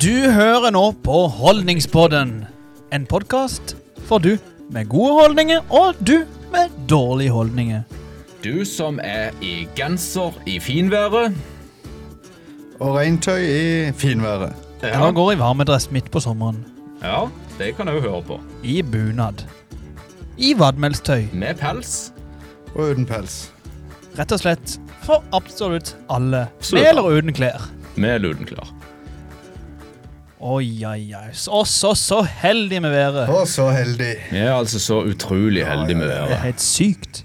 Du hører nå på Holdningspodden. En podkast for du med gode holdninger og du med dårlige holdninger. Du som er i genser i finværet. og regntøy i finværet. Eller går i varmedress midt på sommeren. ja, det kan jeg jo høre på. I bunad. I vadmelstøy. Med pels. Og uten pels. Rett og slett for absolutt alle. Med Absolutt eller uten klær. Med luden klar. Oi, oi, oi. Så, så, så heldig med været. Å, så heldig. Vi er altså så utrolig heldige med Det er været. helt sykt.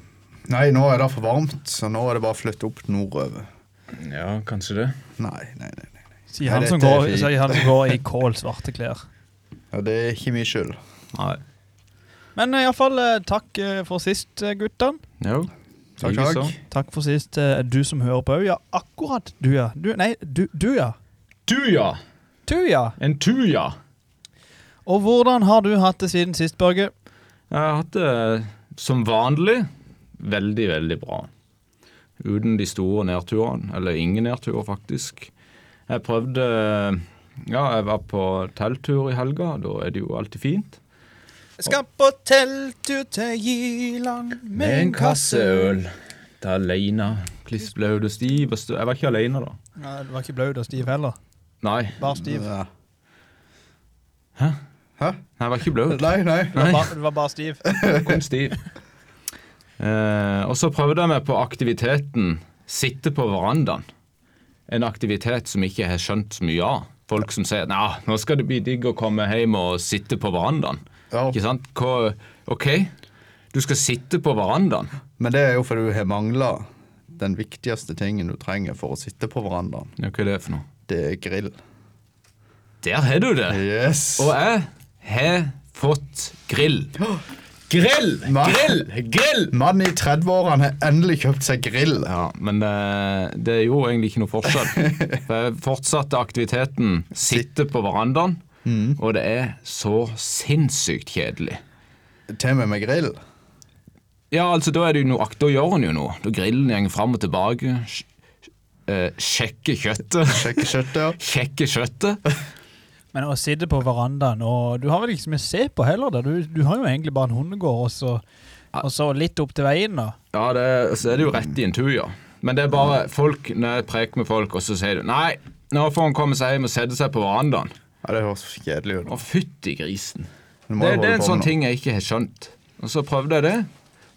Nei, nå er det for varmt, så nå er det bare å flytte opp nordover. Ja, kanskje det. Nei, nei, nei. nei. Sier Nei, han, som dette er går, fint. sier han som går i kålsvarte klær. Ja, det er ikke min skyld. Nei. Men iallfall takk eh, for sist, eh, guttene. Jo. Takk, takk. Takk for sist, eh, du som hører på. Ja, akkurat du, ja. Du, nei, du, du, ja. Tuja! Du, ja. En tuja. Og hvordan har du hatt det siden sist, Børge? Jeg har hatt det som vanlig veldig, veldig bra. Uten de store nedturene, eller ingen nedturer faktisk. Jeg prøvde Ja, jeg var på telttur i helga, da er det jo alltid fint. Jeg skal på telttur til Giland Med en kasse øl. Da aleine. Klissblaut og stiv. og stø- Jeg var ikke aleine, da. Nei, du var ikke blaut og stiv heller. Nei, Bare stiv. Ja. Hæ? Hæ? Nei, jeg var ikke blaut. Nei, nei. Du var, bare, du var bare stiv. Kun stiv. Eh, og så prøvde jeg meg på aktiviteten sitte på verandaen. En aktivitet som jeg ikke har skjønt så mye av. Folk som sier Nei, nå skal det bli digg å komme hjem og sitte på verandaen. Ja. Ikke sant? Hva, OK, du skal sitte på verandaen. Men det er jo fordi du har mangla den viktigste tingen du trenger for å sitte på verandaen. Ja, Hva er det for noe? Det er grill. Der har du det! Yes. Og jeg har fått grill. Grill! Hva? Grill! Grill! Mannen i 30-årene har endelig kjøpt seg grill. Ja, men eh, det er jo egentlig ikke noe forskjell. For jeg fortsatte aktiviteten sitte på verandaen, og det er så sinnssykt kjedelig. Til og med med grill. Ja, altså, da er det jo noe Da gjør en jo noe. Da grillen går fram og tilbake. sj- eh, Sjekke kjøttet. Sjekke kjøttet. Sjekke kjøttet. Men å sitte på verandaen, og du har vel ikke så mye å se på heller? Da. Du, du har jo egentlig bare en hundegård, og så, og så litt opp til veien, da. Ja, det, så er det jo rett i en tur, ja. Men det er bare folk, når jeg preker med folk, og så sier du nei, nå får han komme seg hjem og sette seg på verandaen. Ja, det høres kjedelig ut. Å, fytti grisen. Du må Det, det jo er holde en på sånn med noe. ting jeg ikke har skjønt. Og så prøvde jeg det.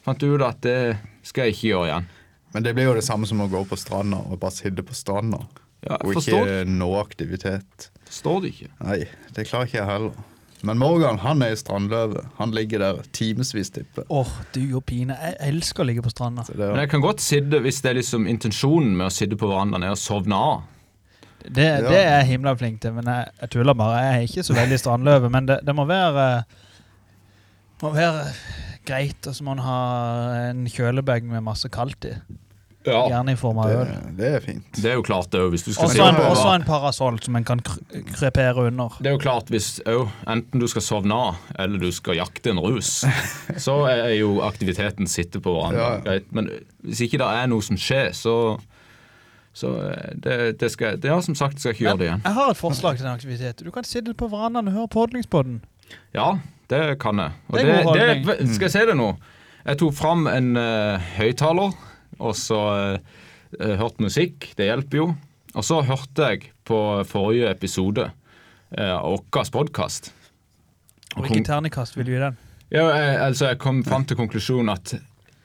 Fant ut at det skal jeg ikke gjøre igjen. Men det blir jo det samme som å gå på stranda og bare sitte på stranda. Ja, jeg og forstår. ikke nå aktivitet. Forstår det ikke. Nei, det klarer ikke jeg heller. Men Morgan han er i strandløvet. Han ligger der timevis, tipper Åh, du og pine. Jeg elsker å ligge på stranda. Så det Men er- jeg kan godt sitte, hvis det er liksom intensjonen med å sitte på verandaen, er å sovne av. Det, Ja. det er jeg himla flink til, men jeg, jeg tuller bare. Jeg er ikke så veldig strandløve, men det, det må være eh, må være greit. Og så må en ha en kjølebag med masse kaldt i. Ja. Gjerne i form av øl. det, det er fint. Det er jo klart, det òg, hvis du skal Og så sitte en, på også verandaen. en parasoll som en kan kr- krepere under. Det er jo klart hvis òg, enten du skal sovne av, eller du skal jakte en rus, så er jo aktiviteten sitte på Ja, ja. verandaen greit. Men hvis ikke det er noe som skjer, så så eh, det, det skal jeg Ja, som sagt, skal jeg ikke gjøre det igjen. Jeg har et forslag til en aktivitet. Du kan sitte på verandaen og høre på Holdningspodden. Ja, det kan jeg. Og Det det, er god det, holdning. v- skal jeg si det nå? Jeg tok fram en eh, høyttaler, og så uh, hørte musikk. Det hjelper jo. Og så hørte jeg på forrige episode eh, av vår podkast. Og hvilket terningkast vil du gi den? Ja, jeg, altså, jeg kom fram til konklusjonen at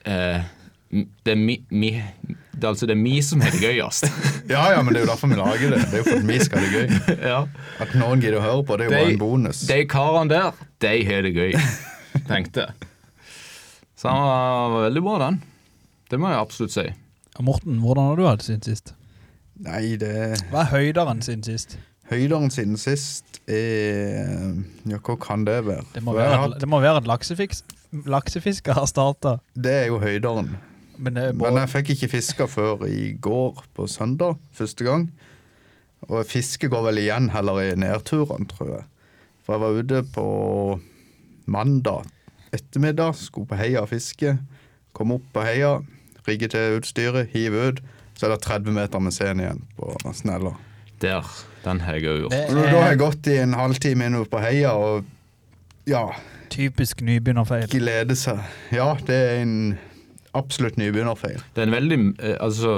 eh, det, er mi, mi, det er altså det er mi som har det gøyest. Ja, ja, men det er jo derfor vi lager det. Det er jo for at vi skal ha det gøy. ja. At noen gidder å høre på, det er jo bare en bonus. De karene der, de har det gøy, tenkte jeg. Så den var veldig bra, den. Det må jeg absolutt si. Og Morten, hvordan har du hatt det siden sist? Nei, det er Hva er høyderen siden sist? Høyderen siden sist er Ja, hva kan det være? Det må For jeg være har at, hatt- det må være at laksefiks, laksefisker har starta. det er jo høyderen. Men eh, det er Men eh, bare jeg fikk ikke fiska før i går på søndag, første gang. Og fiske går vel igjen heller i nedturene, tror jeg. For jeg var ute på mandag ettermiddag, skulle på heia og fiske. Kom opp på heia, rigge til utstyret, hive ut. Så er det 30 meter med sen igjen på snella. Der. Den har jeg òg gjort. Det Og når du da har er gått i en halvtime innover på heia og ja, typisk nybegynnerfeil. glede seg Ja, det er en absolutt nybegynnerfeil. Det er en veldig eh, Altså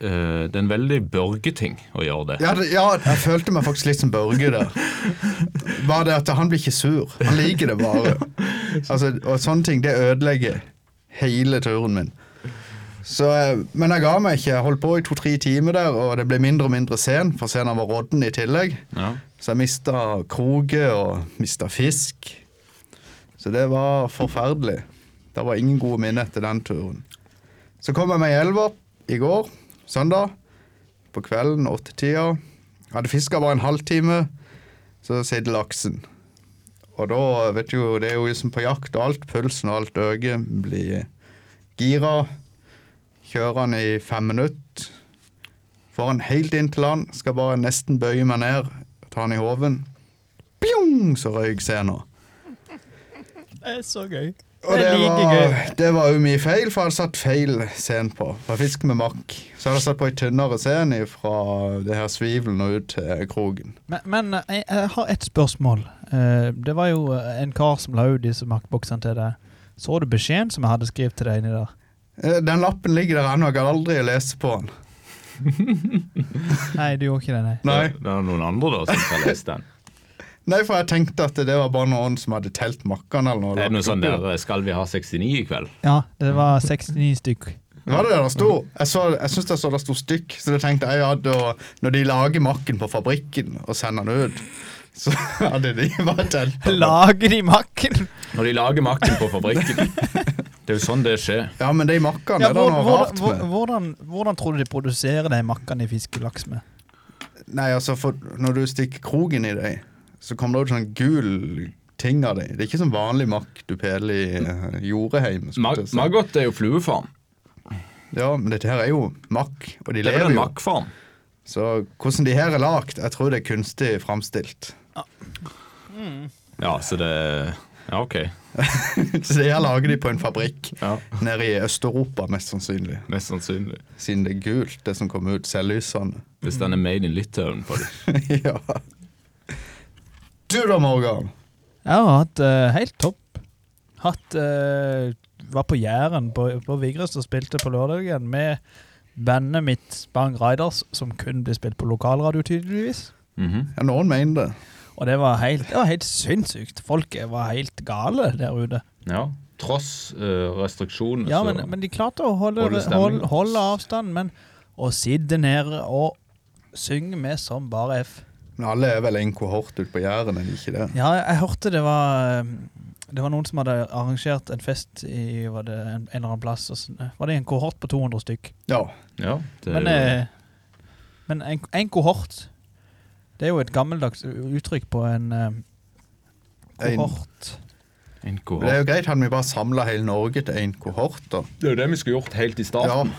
eh, det er en veldig børgeting å gjøre det. Ja, det, ja, jeg følte meg faktisk litt som Børge der. Bare det at han blir ikke sur. Han liker det bare. Altså, og sånne ting, det ødelegger hele turen min. Så, eh, men jeg ga meg ikke. Jeg holdt på i to-tre timer der, og det ble mindre og mindre sen, for scenen var rådden i tillegg. Ja. Så jeg mista kroget og mista fisk. Så det var forferdelig. Det var ingen gode minner etter den turen. Så kom jeg meg i elva i går, søndag, på kvelden, åttetida. Jeg hadde fiska bare en halvtime, så sitter laksen. Og da, vet du jo, det er jo som på jakt og alt, pulsen og alt øker, blir gira. Kjører han i fem minutter. Får han helt inn til land, skal bare nesten bøye meg ned, ta han i hoven. Pjong, så røyk scenen. Det er så gøy. Og det var, det var jo mye feil, for jeg hadde satt feil scen på. Fra fisk med makk. Så hadde jeg satt på en tynnere scene fra det her svivelen og ut til kroken. Men, men eh, jeg, jeg har et spørsmål. Eh, det var jo eh, en kar som la ut disse makkboksene til deg. Så du beskjeden som jeg hadde skrevet til deg inni der? Eh, Den lappen ligger der ennå, jeg har aldri lest på den. Nei, du gjorde ikke det, nei. Nei. Det, det er noen andre da som har lest den. Nei, for jeg tenkte at det var bare noen som hadde telt makkene eller noe. Det er noe lagt sånn oppi der eh, Skal vi ha 69 i kveld? Ja, det var 69 stykk. det. Var det det der sto? Jeg, så, jeg syns jeg så det sto stykk, så da tenkte jeg ja, da, når de lager makken på fabrikken og sender den ut, så hadde de bare telt. på den. Lager de makken? Når de lager makken på fabrikken. Det er jo sånn det skjer. Ja, men de makkene Ja, er det hvordan, noe rart med. hvordan, hvordan, hvordan tror du de produserer de makkene de fisker laks med? Nei, altså, for når du stikker krogen i deg, så kommer det ut sånn gul ting av deg. Det er ikke sånn vanlig makk du peler i eh, Joreheim. skulle Mag jeg si. Maggot er jo fluefarm. Ja, men dette her er jo makk, og Det de er vel lever en jo. makkfarm. Så hvordan de her er lagd, jeg tror det er kunstig framstilt. Ja, så det Ja, OK. så det her lager de på en fabrikk Ja, nede i Øst-Europa, mest sannsynlig. Mest sannsynlig. Siden det er gult, det som kommer ut, selvlysende. Hvis den er made in Litauen på det. ja. Du da, Morgan. Jeg har hatt eh, helt topp. Hatt eh, Var på Jæren på, på Vigrest og spilte på lørdagen med bandet mitt Spang Riders, som kun blir spilt på lokalradio, tydeligvis. Mhm. Ja, noen mener det. Og det var helt, det var helt sinnssykt. Folk var helt gale der ute. Ja. Tross eh, restriksjoner, Ja, men, men de klarte å holde, Holde stemningen. holde, holde avstand, men å sitte nede og synge med som bare F. Men alle er vel en kohort ute på Jæren, er de ikke det? Ja, jeg hørte det var um, Det var noen som hadde arrangert en fest i var det en, en eller annen plass. Og sånn, eh, var det en kohort på 200 stykk? Ja. ja, det er Men, jo- eh, men en, en kohort Det er jo et gammeldags uttrykk på en eh, En- kohort. en Men Det er kohort. jo greit, hadde vi bare samla hele Norge til én kohort, da. Det er jo det vi skulle gjort helt i Ja. starten.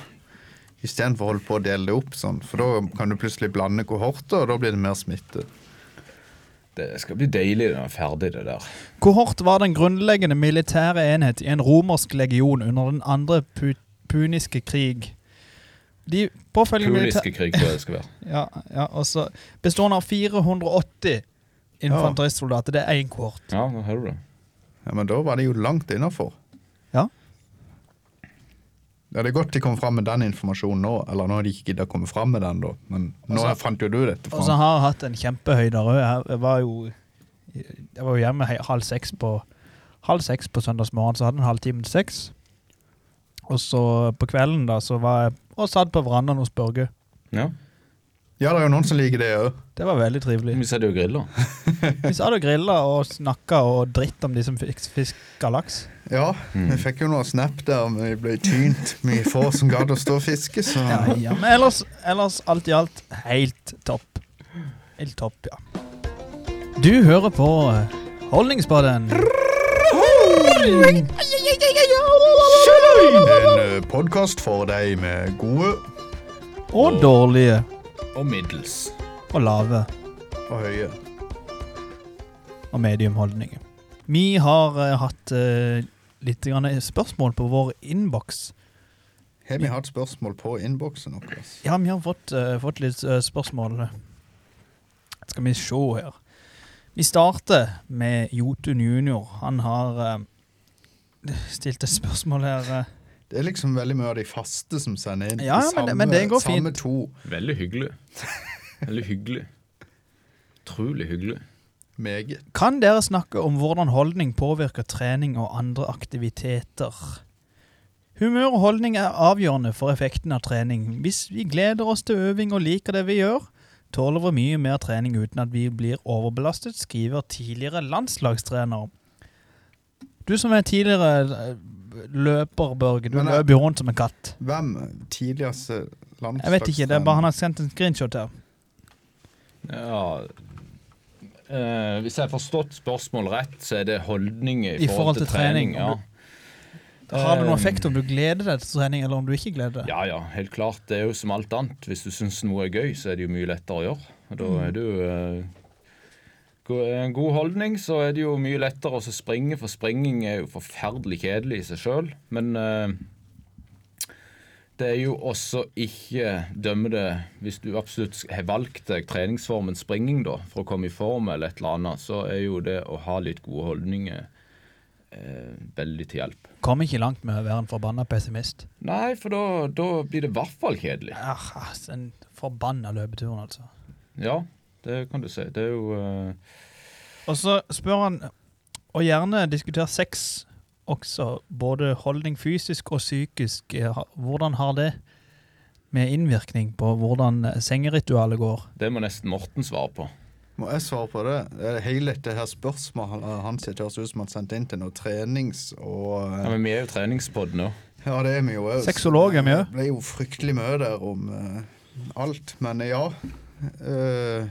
Istedenfor å holde på å dele det opp sånn, for da kan du plutselig blande kohorter, og da blir det mer smitte. Det skal bli deilig når det er ferdig, det der. Kohort var den grunnleggende militære enhet i en romersk legion under den andre pu puniske krig. De påfølgende militæ- Puliske krig, tror jeg det skal være. ja, ja, og så bestående av 480 infanteristsoldater. Det er én kohort. Ja, nå hører du det. Ja, Men da var det jo langt innafor. Ja. Ja, det er godt de kom fram med den informasjonen nå, eller nå har de ikke giddet å komme fram med den, da. Men nå Altså- fant jo du dette Og så fram. har jeg hatt en kjempehøyde rød. Jeg var jo, jeg var jo hjemme he- halv seks på Halv seks på søndagsmorgen, så hadde jeg en halvtime til seks. Og så på kvelden da, så var jeg og satt på verandaen hos Børge. Ja. Ja, det er jo noen som liker det òg. Det var veldig trivelig. Vi sitter jo og griller. Vi satt og grilla og snakka og dritt om de som fikk fiska laks. Ja, vi fikk jo noe snap der vi ble tynt. Vi få som gadd å stå og fiske, så Ja, ja. Men ellers, ellers alt i alt helt topp. Helt topp, ja. Du hører på Holdningspodden. En eh, podcast for deg med gode Og dårlige Og middels. og lave. og høye. og mediumholdninger. Vi har eh, hatt eh, litt grann spørsmål på vår innboks. Har vi hatt spørsmål på innboksen vår? Ja, vi har fått, eh, fått litt eh, spørsmål Skal vi se her. Vi starter med Jotun junior. Han har eh, stilt et spørsmål her. eh. Det er liksom veldig mye av de faste som sender inn. Ja, de men det- men det går samme fint. to Veldig hyggelig. Veldig hyggelig. Utrolig hyggelig. meget. Kan dere snakke om hvordan holdning påvirker trening og andre aktiviteter? Humør og holdning er avgjørende for effekten av trening. Hvis vi gleder oss til øving og liker det vi gjør, tåler vi mye mer trening uten at vi blir overbelastet, skriver tidligere landslagstrener. Du som er tidligere eh, løper, Børge, du Men jeg- løper jo rundt som en katt. Hvem tidligste landslagstrener? Jeg vet ikke, det er bare han har sendt en screenshot her. Ja eh, Hvis jeg har forstått spørsmålet rett, så er det holdninger i, I forhold til trening, om Ja. Har det noen Eh, effekt om du gleder deg til trening, eller om du ikke gleder deg? ja, ja, helt klart. Det er jo som alt annet. Hvis du syns noe er gøy, så er det jo mye lettere å gjøre. Og Da er det jo eh, go- eh, en god holdning, så er det jo mye lettere å springe, for springing er jo forferdelig kjedelig i seg sjøl. Men eh, det er jo også ikke dømme det Hvis du absolutt har valgt deg treningsformen springing da, for å komme i form eller et eller annet, så er jo det å ha litt gode holdninger eh, veldig til hjelp. Kom ikke langt med å være en forbanna pessimist. Nei, for da, da blir det i hvert fall kjedelig. Ah, altså, en forbanna løpeturen, altså. Ja, det kan du si. Det er jo eh, Og så spør han, og gjerne diskuter sex også, både holdning fysisk og psykisk. Eh, ha- Hvordan har det med innvirkning på hvordan eh, sengeritualet går? Det må nesten Morten svare på. Må jeg svare på det? Eh, Hele dette her spørsmålet hans det høres ut som han sendte inn til noe trenings og Ja, eh, men vi er jo treningspod nå. Ja, det er vi jo. også. Sexolog er vi jo. Det ble jo fryktelig mye der om eh, alt, men eh, ja. Eh,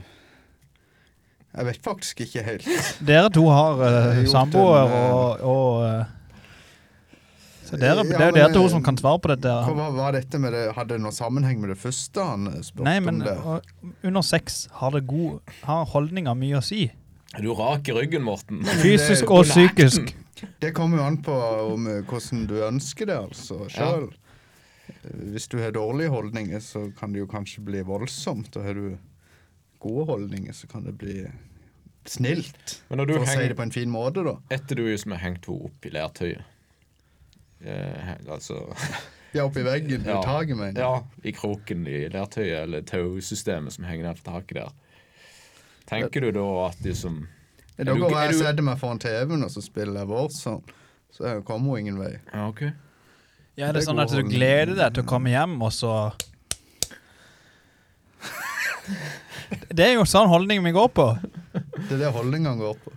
jeg vet faktisk ikke helt. Dere to har eh, Jeg har gjort samboer en, eh, og, og eh, Så dere, det er jo Ja, dere men, to eh, som kan svare på dette. Hva var- var dette med det? Hadde det noen sammenheng med det første han eh, spurte Nei, men om? det? og, under sex har, det god, har holdninger mye å si. Er du rak i ryggen, Morten? Fysisk det- og under psykisk. Det kommer jo an på om, eh, hvordan du ønsker det, altså. Sjøl. Hvis du har dårlige holdninger, så kan det jo kanskje bli voldsomt. Og har du gode holdninger, så kan det bli snilt. Men når du For å si henger- det på en fin måte, da. Etter du som har hengt henne opp i lertøyet. Eh, altså Ja, oppi veggen. Ja. Taket, mener jeg. ja, i kroken i lertøyet, eller tausystemet som henger ned på taket der. Tenker du da at de som Da Er du- går er jeg og du- setter meg foran TV-en, og så spiller jeg Warzone. Så kommer hun ingen vei. Ja, OK. Ja, det Det er er sånn god at du holdning. gleder deg til å komme hjem, og så Det er jo sånn holdning vi går på. Det er det holdningene går på.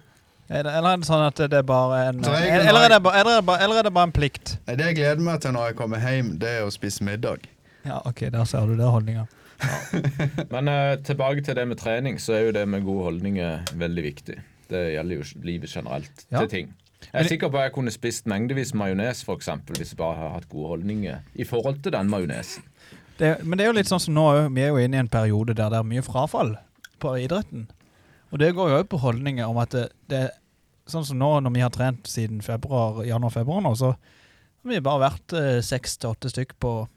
Er det, eller er det sånn at det er bare en Så jeg kan Eller er ha- det bare, eller er det bare, eller er det bare en plikt? Nei, Det jeg gleder meg til når jeg kommer hjem, det er å spise middag. Ja, OK, der ser du det, holdninga. Men eh, tilbake til det med trening, så er jo det med gode holdninger veldig viktig. Det gjelder jo livet generelt Ja. til ting. Jeg er sikker på at jeg kunne spist mengdevis majones for eksempel, hvis jeg bare hadde hatt gode holdninger i forhold til den majonesen. Det- Men det er jo litt sånn som nå òg. Vi er jo inne i en periode der det er mye frafall på idretten. Og det går jo òg på holdninger om at det, det er Sånn som nå når vi har trent siden februar, januar-februar nå, så har vi bare vært eh, seks til åtte stykk på,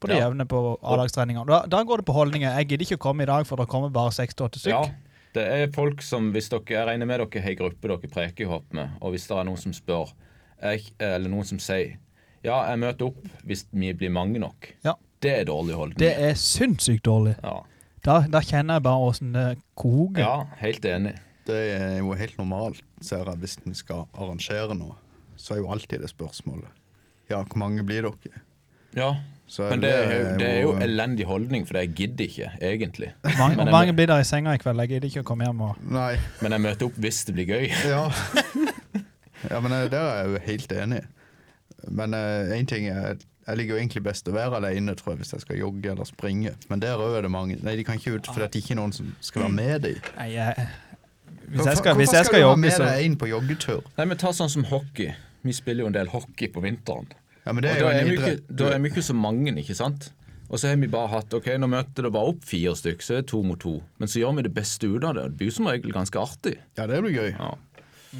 på det Ja. jevne på A-lagstreninger. Da, da går det på holdninger. Jeg gidder ikke å komme i dag, for det kommer bare seks til åtte stykk. Ja, det er folk som, hvis dere, Jeg regner med dere har en gruppe dere preker i hopp med, og hvis det er noen som spør, jeg, eller noen som sier Ja, jeg møter opp hvis vi blir mange nok. Ja. Det er dårlig holdning. Det er sinnssykt dårlig. Ja. Da, da kjenner jeg bare åssen det koker. ja, helt enig. Det er jo helt normalt, ser jeg, hvis en skal arrangere noe. Så er jo alltid det spørsmålet. Ja, hvor mange blir dere? Ja, Så Men det er, jo, det er jo eh, elendig holdning, for jeg gidder ikke, egentlig. Hvor mange, Men hvor jeg- mange blir der i senga i kveld? Jeg gidder ikke å komme hjem og Nei, Men jeg møter opp hvis det blir gøy. ja. ja, men eh, der er jeg jo helt enig. Men én ting er Jeg liker jo egentlig best å være alene, tror jeg, hvis jeg skal jogge eller springe. Men der òg er det mange. Nei, de kan ikke ut fordi at det ikke er noen som skal være med dem. Nei, jeg, hvis jeg skal, hvis jeg skal jogge, Hvorfor så skal du ha med deg en på joggetur? Nei, men ta sånn som hockey. Vi spiller jo en del hockey på vinteren. Ja, men det og er da jo er, en vi ikke, idrett. da er vi ikke så mange, ikke sant? Og så har vi bare hatt Ok, nå møter det bare opp fire stykker, så er det to mot to. Men så gjør vi det beste ut av det. og Det blir jo som regel ganske artig. Ja, det blir gøy. Ja.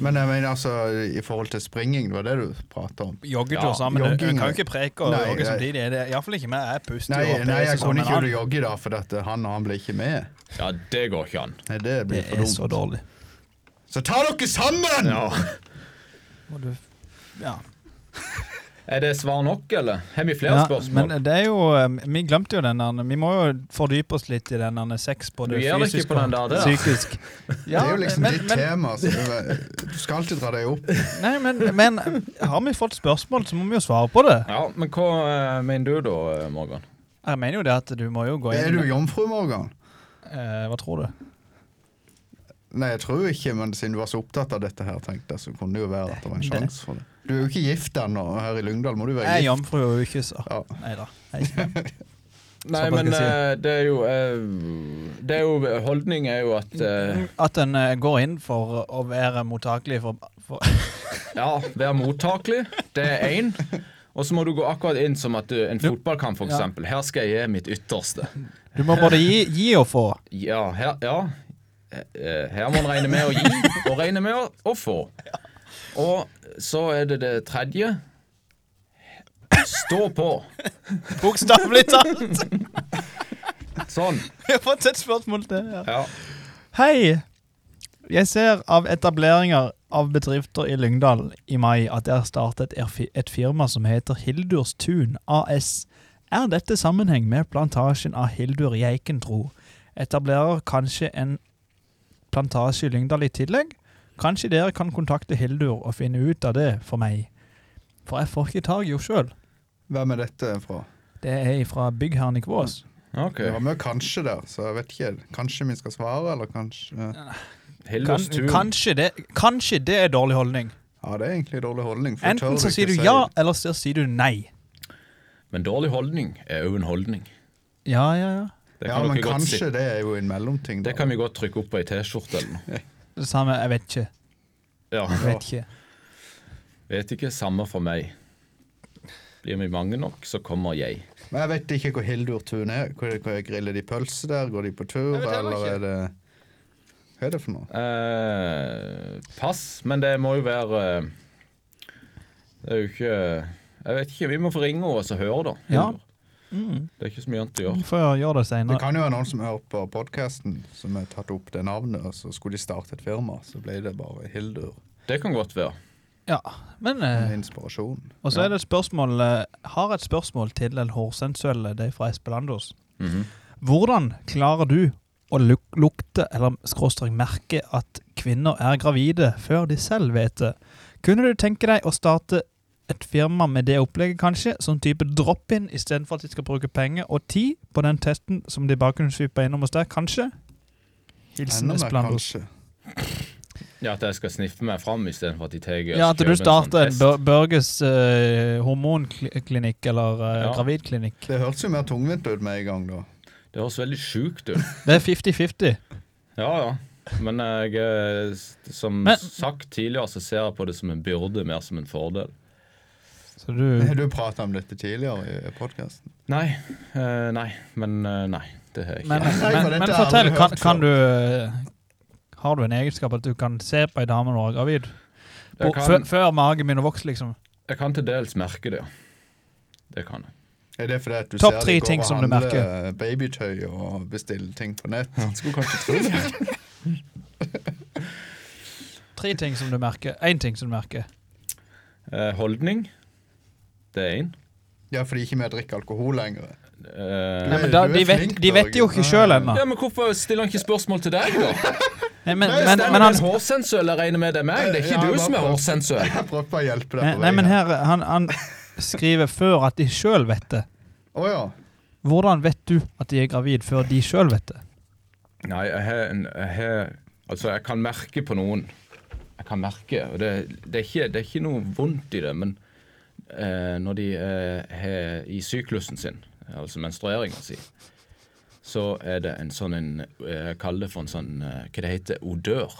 Men jeg mener altså i forhold til springing, det var det du prata om. Joggetur Ja, sammen. jogging- Du kan jo ikke preke og Nei, jogge jeg- samtidig. Det er Iallfall ikke meg. Jeg puster Nei, jo opp. nei det er jeg så kunne sånn, ikke men gjøre jogge da, for at eh, han og han ble ikke med. Ja, det går ikke an. Nei, Det han- blir Det for er så dumt. dårlig. Så ta dere sammen! Ja. Må du ja. Er det svar nok, eller? Har vi flere Ja, spørsmål? Men det er jo eh, Vi glemte jo den der Vi må jo fordype oss litt i den der sex, både Du gjør det ikke fysisk på den og der, det. psykisk. det er jo liksom men, ditt men, tema, så du, du skal alltid dra deg opp. nei, men, men har vi fått spørsmål, så må vi jo svare på det. Ja, men hva eh, mener du da, eh, Morgan? Jeg mener jo det at du må jo gå Er inn du jomfru, Morgan? eh, Hva tror du? Nei, jeg tror ikke, men siden du var så opptatt av dette her, tenkte jeg, så kunne det jo være at det var en Det- sjanse for det. Du er jo ikke gift ennå, og her i Lyngdal må du Jeg er være gift. jomfru og ukysser. Ja. Nei da. Jeg er ikke det. Nei, Såpass men skal jeg eh, det er jo eh, Det er jo Holdning er jo at eh, At en eh, går inn for å være mottakelig for, for Ja, være mottakelig. Det er én. Og så må du gå akkurat inn som at du, en fotballkamp, Ja. f.eks. Her skal jeg gi mitt ytterste. Du må både gi, gi og få. Ja, her, ja. Eh, her må en regne med å gi, og regne med å, å få. Og så er det det tredje. Stå på. Bokstavelig talt! Sånn. Vi har fått et spørsmål til. Ja. Ja. Hei! Jeg ser av etableringer av bedrifter i Lyngdal i mai at det er startet et fi- et firma som heter Hildurs Tun AS. Er dette sammenheng med plantasjen av Hildur Geikentro? Etablerer kanskje en plantasje i Lyngdal i tillegg? Kanskje dere kan kontakte Hildur og finne ut av det for meg? For jeg får ikke tak i henne sjøl. Hvem er dette fra? Det er fra byggherren i Kvås. Ok. Det var mye kanskje der, så jeg vet ikke. Kanskje vi skal svare, eller kanskje Kan, Hilders tur. kanskje, det, kanskje det er dårlig holdning. Ja, det er egentlig dårlig holdning. for tør Enten så ikke sier du si- ja, eller så sier du nei. Men dårlig holdning er òg en holdning. Ja, ja, ja. Det Ja, kan, dere men godt si. kanskje det er jo en mellomting. da. det kan vi godt trykke opp på ei T-skjorte eller noe. Det samme, jeg vet ikke. Ja. Jeg vet ikke. Vet ikke. Samme for meg. Blir vi mange nok, så kommer jeg. Men jeg vet ikke hvor Hildur Tun er. Hvor, hvor griller de pølse der? Går de på tur, Jeg vet heller eller ikke. er det Hva er det for noe? Eh, pass, men det må jo være eh, Det er jo ikke Jeg vet ikke. Vi må få ringe henne og så høre, da. Ja. Det er ikke så mye annet å Vi gjøre. får gjøre det Det senere. kan jo være noen som hører på podkasten som har tatt opp det navnet, og så skulle de starte et firma, så ble det bare Hildur. Det kan godt være. Ja, men eh, Med inspirasjon. Og så er det et spørsmål eh, Har et spørsmål til en hårsensuelle, det er fra Espelandos. Mhm. Hvordan klarer du å luk lukte eller skråstrek merke at kvinner er gravide før de selv vet det? Kunne du tenke deg å starte et firma med det opplegget, kanskje? Som type drop-in, istedenfor at de skal bruke penger og tid på den testen som de bare kunne svipe innom hos deg, kanskje? Hilsen Enda mer, Espelandos. kanskje. Ja, At jeg skal sniffe meg fram istedenfor at de tar Ja, at du sånn starter en Bør- Børges eh, hormonklinikk eller eh, Ja. gravidklinikk. Det hørtes jo mer tungvint ut med en gang, da. Det høres veldig sjukt ut. Det er 50-50. Ja, ja. Men jeg, eh, s- som Men- sagt tidligere, så ser jeg på det som en byrde mer som en fordel. Så Mm. du Du prata om dette tidligere i podkasten. Nei. eh, nei. Men eh, nei. Det har jeg ikke. Men, for men, men dette har jeg fortell, aldri kan, hørt kan før. du eh, Har du en egenskap at du kan se på ei dame når hun er gravid? Jeg Og kan- før- Før magen begynner å vokse, liksom? jeg kan til dels merke det, ja. Det kan jeg. Er det fordi at du Topp ser tre de går ting som du og handler babytøy og bestiller ting på nett? Skulle kanskje tro det. Tre ting som du merker. Én ting som du merker. Eh, holdning. Det er én. Ja, fordi ikke vi drikker alkohol lenger. Eh, Nei, er- men da, du er de, vet, flink, de vet jo Børge. ikke sjøl ennå. ja, men Hvorfor stiller han ikke spørsmål til deg, da? Nei, Men, Nei, men, det er men, jo en han, hårsensuell jeg regner med det er meg. Det er Ja, ikke jeg du som er bare- hårsensuell. Jeg prøvde bare å hjelpe deg nei, på nei, men vei. her, han, han skriver før at de sjøl vet det. Å ja. Hvordan vet du at de er gravid før de sjøl vet det? Nei, jeg har en jeg har, Altså, jeg kan merke på noen. Jeg kan merke, og det, det, er, ikke, det er ikke noe vondt i det, men eh, når de eh, har i syklusen sin, altså menstrueringa si, så er det en sånn en eh, Jeg kaller det for en sånn eh, Hva det heter odør?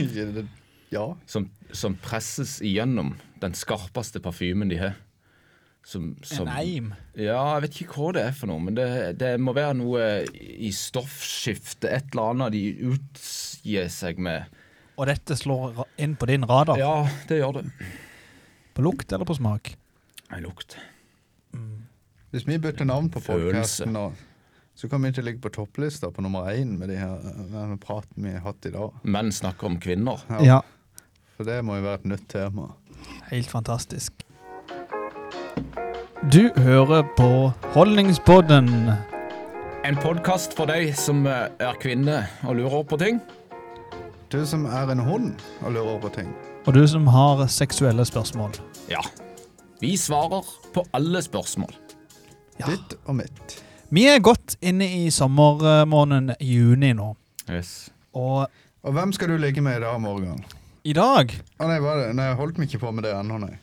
Ja, det- Ja. Som, som presses igjennom den skarpeste parfymen de har. Som, som, Ja, jeg vet ikke hva det er for noe, men det, det må være noe i stoffskiftet. Et eller annet de utgir seg med. Og dette slår ra- inn på din radar. Ja, det gjør det. På lukt eller på smak? Nei, lukt. Hvis vi bytter navn på Følelse. podkasten nå, så kommer vi til å ligge på topplista på nummer én med de her, denne praten vi har hatt i dag. Menn snakker om kvinner. Ja. For det må jo være et nytt tema. Helt fantastisk. Du hører på Holdningspodden. En podkast for deg som eh, er kvinne og lurer på ting. Du som er en hund og lurer på ting. Og du som har seksuelle spørsmål. Ja. Vi svarer på alle spørsmål. Ja. Ditt og mitt. Vi er godt inne i sommermåneden juni nå. Yes. Og Og hvem skal du ligge med i dag, Morgan? i dag Å nei, hva er det? nei, jeg holdt meg ikke på med det ennå, nei.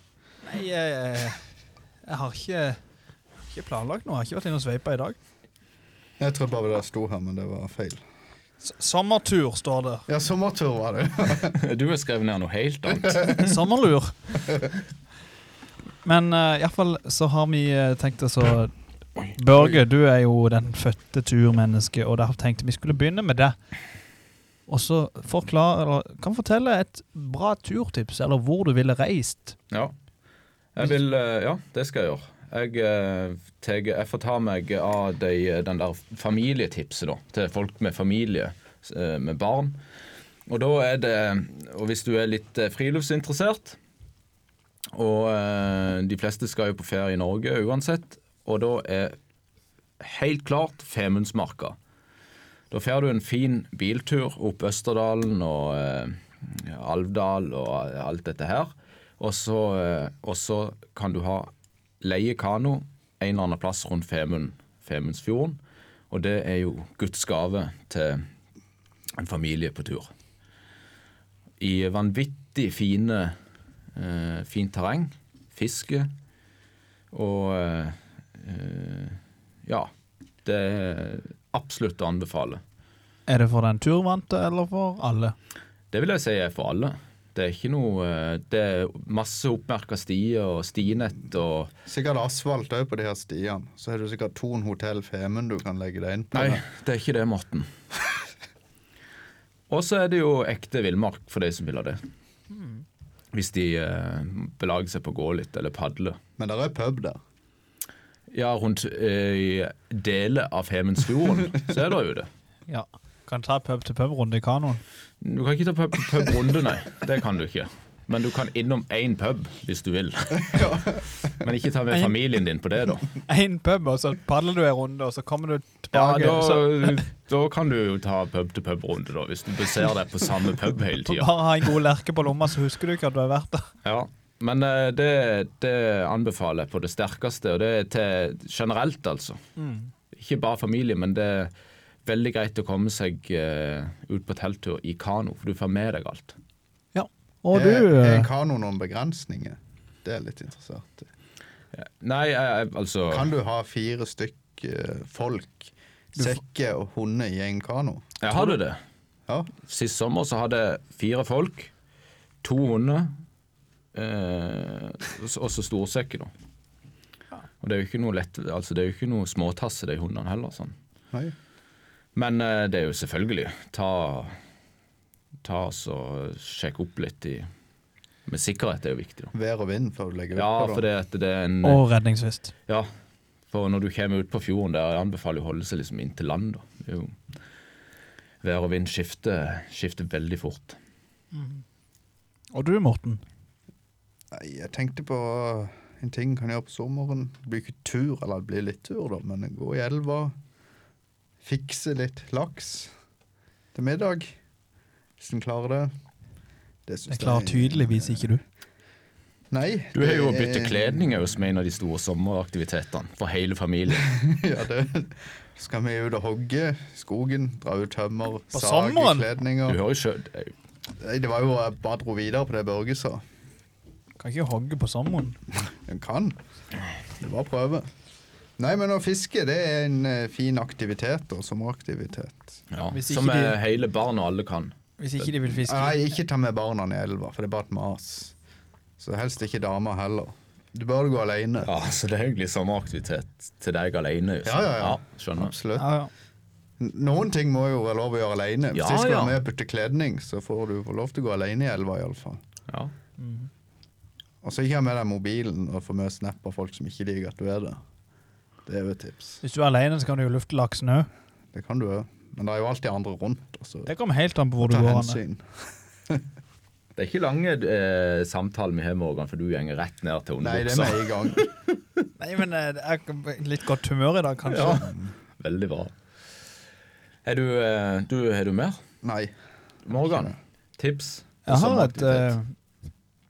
Nei, jeg, jeg har ikke, ikke planlagt noe. Jeg har ikke vært inne og sveipa i dag. Jeg trodde bare det sto her, men det var feil. S sommertur står det. Ja, sommertur var det. Du har skrevet ned noe helt annet. Sommerlur. Men uh, iallfall så har vi eh, tenkt oss å Børge, du er jo den fødte turmennesket, og derfor tenkte vi skulle begynne med det. Og så forklare, eller kan fortelle et bra turtips, eller hvor du ville reist. Ja. Jeg vil eh, Ja, det skal jeg gjøre. Jeg, eh, tar- jeg får ta meg av de, eh, den der familietipset, da. Til folk med familie, eh, med barn. Og da er det Og hvis du er litt eh, friluftsinteressert Og eh, de fleste skal jo på ferie i Norge uansett, og da er helt klart Femundsmarka. Da får du en fin biltur opp Østerdalen og eh, Alvdal og alt dette her. Og så, eh, og så kan du ha leie kano en eller annen plass rundt Femund, Femundsfjorden. Og det er jo Guds gave til en familie på tur. I vanvittig fine eh, fint terreng. Fiske og eh, eh, Ja. Det er absolutt å anbefale. Er det for den turvante, eller for alle? Det vil jeg si er for alle. Det er ikke noe eh, Det er masse oppmerka stier og stinett og Sikkert asfalt òg på de her stiene. Så har du sikkert Thon hotell Femund du kan legge deg inn på. Nei, det er ikke det, Morten. Og så er det jo ekte villmark for de som vil ha det. Hvis de eh, belager seg på å gå litt eller padle. Men der er pub der. Ja, rundt eh, deler av Femundsfjorden, så er det jo det. Ja. Kan ta pub til pub-runde i kanoen. Du kan ikke ta pub, pubrunde, nei. Det kan du ikke. Men du kan innom én pub hvis du vil. Men ikke ta med familien din på det, da. Én pub, og så padler du en runde, og så kommer du Ja, tilbake. så da, da kan du jo ta pub til pub-runde, da, hvis du baserer deg på samme pub hele tida. bare ha en god lerke på lomma, så husker du ikke at du har vært der. Ja, men eh, det, det anbefaler jeg på det sterkeste, og det er til generelt, altså. Ikke bare familie, men det er veldig greit å komme seg eh, ut på telttur i kano, for du får med deg alt. Ja. Og du Er, er eh, kano noen begrensninger? Det er jeg litt interessert. i. Nei, jeg- jeg, altså Kan du ha fire stykk eh, folk, sekker og hunder i en kano? Jeg hadde det. Ja. Sist sommer så hadde jeg fire folk, to hunder eh, og så- og så storsekker. Da. Og det er jo ikke noe lett, altså det er jo ikke noe småtasse, de hundene heller. Sånn. Nei. Men eh, det er jo selvfølgelig ta, ta oss og sjekke opp litt i Men sikkerhet er jo viktig, da. Vær og vind før du legger ut Ja, på for det, at det er en Og redningsvest. Ja, for når du kommer ut på fjorden der, jeg anbefaler å holde seg liksom inn til land. Da. Det er jo Vær og vind skifter, skifter veldig fort. Og du, Morten. Nei, jeg tenkte på en ting kan jeg gjøre på sommeren. Det blir ikke tur, eller det blir litt tur, da, men gå i elva. Fikse litt laks til middag, hvis en klarer det. Det syns Det klarer tydeligvis ikke du. Nei. Du har jo å det bytte er- kledning også, som er en av de store sommeraktivitetene for hele familien. ja, det skal vi ut og hogge skogen, dra ut tømmer, På sage sommeren? Du kledninger. hører jo eh, selv, det er jo- Nei, Det var jo jeg bare dro videre på det Børge sa. Kan ikke hogge på sommeren. En kan. Det var prøve. Nei, men å fiske det er en eh, fin aktivitet, da. Sommeraktivitet. ja, Hvis ikke Som er de- hele barn og alle kan. Hvis ikke de vil fiske. Nei, ikke ta med barna i elva, for det er bare et mas. Så helst ikke damer heller. Du bør gå alene. Ja, Så det er egentlig sommeraktivitet til deg alene. Just. Ja, ja, ja. skjønner. Absolutt. Ja, ja. N- Noen ting må jo være lov å gjøre alene. Hvis Ja, jeg skal ja. være med og putte kledning, så får du få lov til å gå alene i elva iallfall. Ja. Og så ikke ha med deg mobilen og få med snap av folk som ikke liker at du er der. Det er jo et tips. Hvis du er alene, så kan du jo lufte laksen òg. Det kan du òg. Men det er jo alltid andre rundt. Altså. Det kommer helt an på hvor du Ta går. Anne. hensyn. Det er ikke lange eh, samtaler vi har, Morgan, for du gjenger rett ned til Nei, det er underbuksa. med i gang. Nei, men eh, det er litt godt humør i dag, kanskje. Ja. Veldig bra. Er du, eh, du, har du mer? Nei. Morgan, tips? til Jeg har et sommeraktivitet?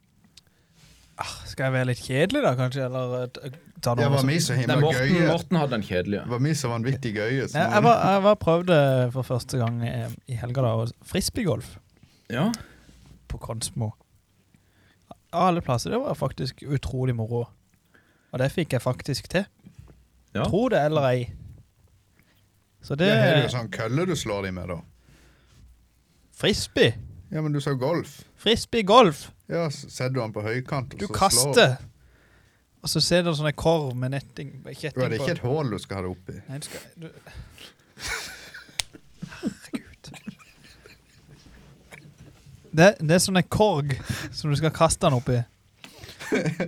eh, ah, Skal jeg være litt kjedelig, da, kanskje? Eller eh, t- ta Det noe var som- vi som Nei, himla Morten, gøye. Morten hadde den Det kjedelige. var vi som vanvittig gøye. så Nei, jeg, var, jeg var prøvde for første gang eh, i helga, da. og Frisbeegolf Ja. på Konsmo. Av alle plasser. Det var faktisk utrolig moro. Og det fikk jeg faktisk til. Ja. Tro det eller ei. Så Det det er jo sånn kølle du slår dem med, da. Frisbee! Ja, men du sa golf. Frisbeegolf! Ja, så setter du den på høykant, og Du så slår kaster, og så ser du sånne korv med netting med du. kjetting Er det ikke et hull du skal ha det oppi? Nei, du skal du... Herregud. Det, det er sånne korg som du skal kaste den oppi.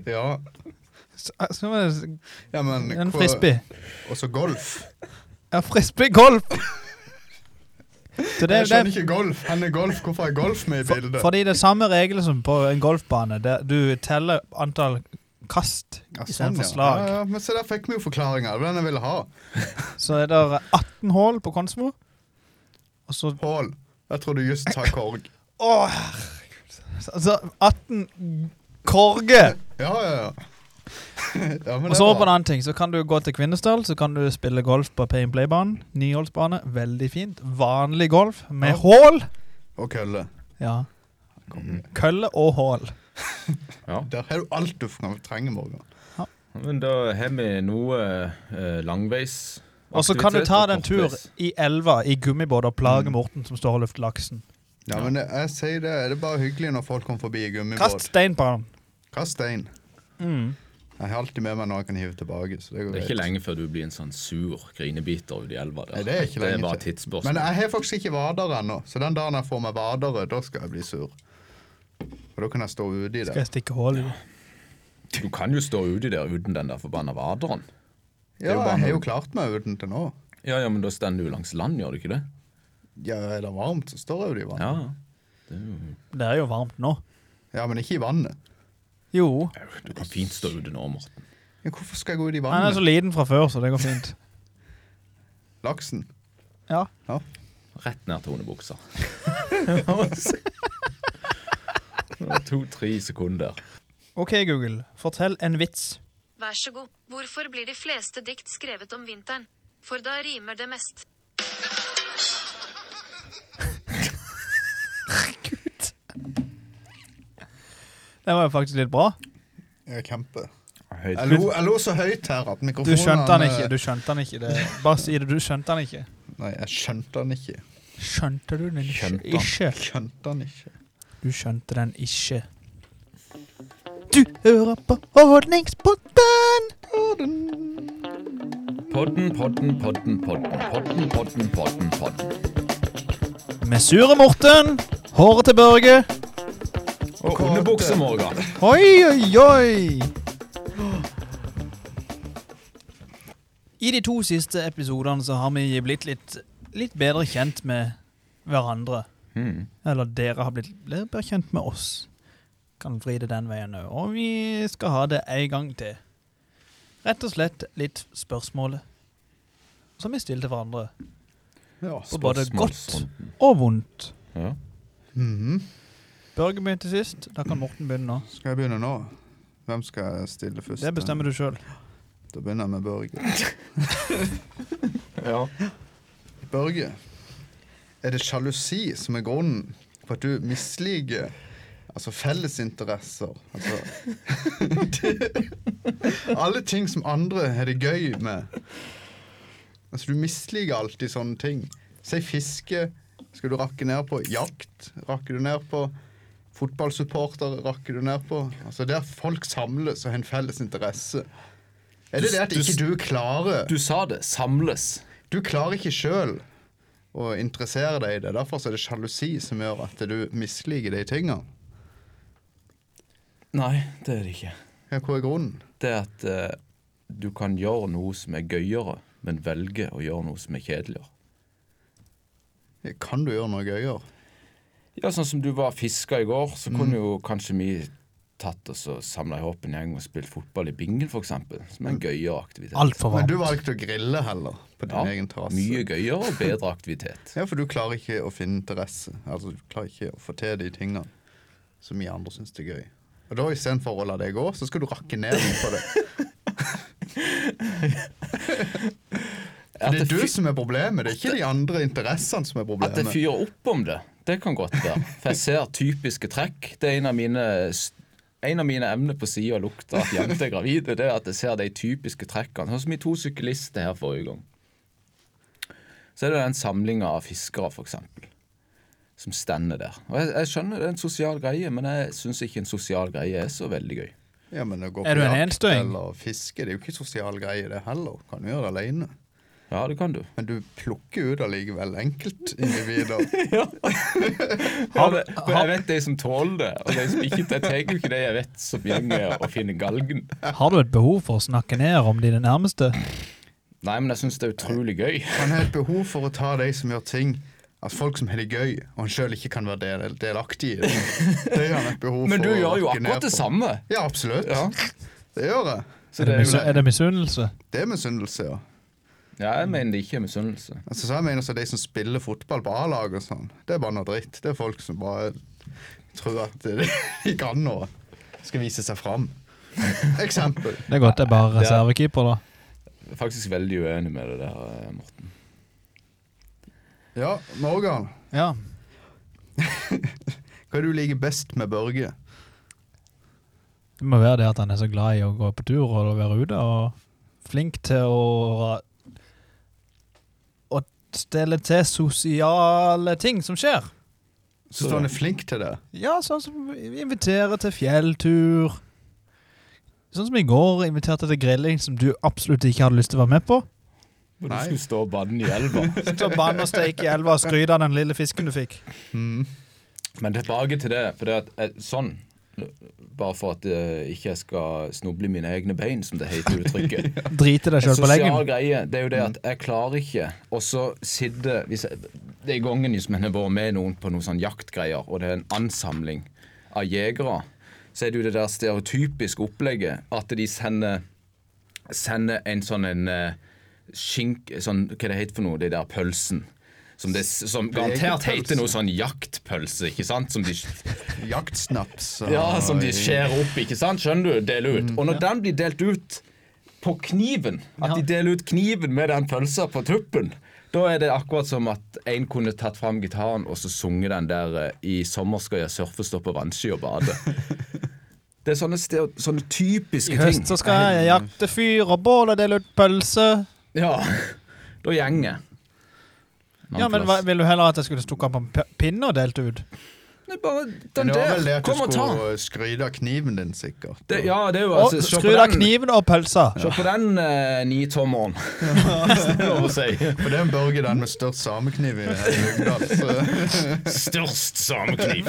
Ja, Så, så var det ja men en hva- frisbee. Og så golf. Ja, frisbeegolf! Så det, det jeg skjønner ikke golf. Han er golf. Hvorfor er golf med i for, bildet? Fordi det er samme regel som på en golfbane, der du teller antall kast Ja, sånn, istedenfor ja. slag. Ja, ja, men se, der fikk vi jo forklaringa. Det var den jeg ville ha. Så er det 18 hull på Konsmo, og så Hull. Jeg trodde just sa korg. Å, herregud. Altså 18 korger! Ja, ja, ja. ja men Og så over på en annen ting, så kan du gå til Kvinesdal, så kan du spille golf på Pay and Play-banen. Nyholdsbane, veldig fint. Vanlig golf med Ja. hull. Og kølle. Ja. Konge. Kølle og hull. ja. Der har du alt du trenger, Morgan. Men da har vi noe eh, langveis Og så kan du aktivitet Mm. ta og den tur kortveis. i elva i gummibåt og plage Morten som står og lufter laksen. Ja, men jeg, jeg sier det. Er det bare hyggelig når folk kommer forbi i Kast gummibåt? stein på den. Kast stein. Mm. Jeg har alltid med meg noe jeg kan hive tilbake. så det går Det er ikke greit. lenge før du blir en sånn sur grinebiter ute i elva der. Nei, det er ikke lenge bare til. tidsspørsmål. Men jeg har faktisk ikke vadere ennå, så den dagen jeg får meg vadere, da skal jeg bli sur. Og da kan jeg stå ute i Skal det. jeg stikke hull i den? Du kan jo stå uti der uten den der forbanna vaderen. er Ja, jo bare jeg har jo noe- klart meg uten til nå. Ja, ja, men da stender du langs land, gjør du ikke det? Ja, er det varmt, så står jeg ute i Ja. vannet. Det er jo varmt nå. Ja, men ikke i vannet. Jo. Du kan fint stå ute nå, Morten. Ja, hvorfor skal jeg gå ut i Han er så vannet? liten fra før, så det går fint. Laksen. Ja. Ja. Rett ned til underbuksa. To-tre sekunder. OK, Google. Fortell en vits. Vær så god. Hvorfor blir de fleste dikt skrevet om vinteren? For da rimer det mest. Gud. Den var jo faktisk litt bra. Ja, kjempe. Høyt. Jeg lo, jeg lo så høyt her at Du mikrofonen skjønte den ikke. du skjønte den ikke. Det. Bare si det, du skjønte den ikke. Nei, jeg skjønte den ikke. Skjønte du den ikke? Skjønte den. ikke? Skjønte den ikke. Du skjønte den ikke. Du hører på Ordningspodden! Podden, podden, podden, podden. Podden, podden, podden, podden. Med sure Morten, håret til Børge. Og underbukse, Morgan. Oi, oi, oi! I de to siste episodene så har vi blitt litt, litt bedre kjent med hverandre. Mm. Eller dere har blitt litt bedre kjent med oss. Kan vri det den veien òg. Og vi skal ha det en gang til. Rett og slett litt spørsmål som vi stiller til hverandre. Ja. Og både godt Spørsmålsrunden. og vondt. Ja. Mhm. Børge begynte sist. Da kan Morten begynne nå. Skal jeg begynne nå? Hvem skal jeg stille først? Det bestemmer du sjøl. Da begynner jeg med Børge. Børge, er det sjalusi som er grunnen for at du misliker altså fellesinteresser? Altså Alle ting som andre har det gøy med. Altså Du misliker alltid sånne ting. Si fiske skal du rakke ned på. Jakt rakker du ned på. Fotballsupporter rakker du ned på. Altså Der folk samles og har en felles interesse. Er det Du- det at du- ikke du klarer Du sa det. Samles. Du klarer ikke sjøl og interessere deg i det. Derfor så er det sjalusi som gjør at du misliker de tinga. Nei, det er det ikke. Ja, hva er grunnen? Det er at eh, du kan gjøre noe som er gøyere, men velge å gjøre noe som er kjedeligere. Kan du gjøre noe gøyere? Ja, sånn som du var fiska i går, så Mm. kunne jo kanskje vi tatt oss og samla i hop en gjeng og spilt fotball i bingen, f.eks. Som Mm. er en gøyere aktivitet. Altfor Men du varmt. valgte å grille heller, på din Ja, egen terrasse. mye gøyere og bedre aktivitet. Ja, for du klarer ikke å finne interesse. Altså, Du klarer ikke å få til de tingene som vi andre syns er gøy. Og da istedenfor å la det gå, så skal du rakke ned på det. At Det er det du fy- som er problemet, det er ikke de andre interessene som er At jeg problemet. fyrer opp om det, det kan godt være. For jeg ser typiske trekk. Det er en av mine, en av mine emner på sida av lukta at jenter er gravide. Det er at jeg ser de typiske trekkene. Sånn som i to syklister her forrige gang. Så er det den samlinga av fiskere, f.eks. Som stender der. Og jeg, jeg skjønner det er en sosial greie, men jeg syns ikke en sosial greie er så veldig gøy. Ja, men å gå Er på du en jakt enstøing? Eller fiske, det er jo ikke sosial greie det heller. Kan du gjøre det alene. Ja, det kan du. Men du plukker ut allikevel enkeltindivider. Ja, men- for jeg vet de som tåler det, og de som ikke det. Jeg tar jo ikke de jeg vet som gjenger og finner galgen. Har du et behov for å snakke ned om dine nærmeste? Nei, men jeg syns det er utrolig gøy. Han har et behov for å ta de som gjør ting Altså folk som har det gøy, og han sjøl ikke kan være del delaktig i det. Det har han et behov Men for du å gjør jo rakke ned akkurat det på. samme. Ja, absolutt. Ja. Det gjør jeg. Så Er det, det er misu jo, er det misunnelse? Det er misunnelse, ja. ja, jeg mener det ikke er misunnelse. Altså, så jeg mener så De som spiller fotball på A-laget og sånn, det er bare noe dritt. Det er folk som bare tror at de de kan noe. Skal vise seg fram. Eksempel. Det er godt jeg bare er Det er- reservekeeper, da. Jeg er faktisk veldig uenig med det der, eh, Morten. Ja, Morgan. Ja. Hva er det du liker best med Børge? Det må være det at han er så glad i å gå på tur og være ute, og flink til å Å stelle til sosiale ting som skjer. Syns du han er flink til det? Ja, sånn som vi inviterer til fjelltur. Sånn som i går, inviterte til grilling som du absolutt ikke hadde lyst til å være med på. Hvor du Nei. skulle stå og banne i elva. Så bann og steik i elva og skryte av den lille fisken du fikk. Men tilbake til det. For det at, eh, sånn, bare for at eh, ikke jeg skal snuble i mine egne bein, som det heter i uttrykket. Drite deg sjøl på leggen. sosial greie, det er jo det at jeg klarer ikke Og så sitter hvis jeg, Det er gangen som jeg har vært med noen på noen sånn jaktgreier, og det er en ansamling av jegere, så er det jo det der stereotypiske opplegget at de sender Sender en sånn en eh, skink... Sånn, hva det heter for noe, de der pølsen. Som, det, som garantert heter noe sånn jaktpølse, ikke sant? Som de Jaktsnaps? ja, altså, som de skjærer opp, ikke sant? Skjønner du? Deler Mm. ut. Og når den blir delt ut på kniven, at de deler ut kniven med den pølsa på tuppen, da er det akkurat som at en kunne tatt fram gitaren og så sunget den der eh, I sommer skal jeg surfe, stå på vannski og bade. Det er sånne, stereo- sånne typiske I høst så ting. skal jeg jakte fyr og bål og dele ut pølse. Ja, Da gjenger Ja, men hva, Vil du heller at jeg skulle stukket opp en p- pinne og delt ut? Nei, bare Men den det var der. vel det at du Kom og ta. skulle skryte av kniven din, sikkert. Det, ja, det er jo Og altså, se på skru av den- kniven og pølsa. Se på den eh, nitommeren. Hvis det er lov å si. For det er en Børge den med størst samekniv i Lyngdal. så- Størst samekniv.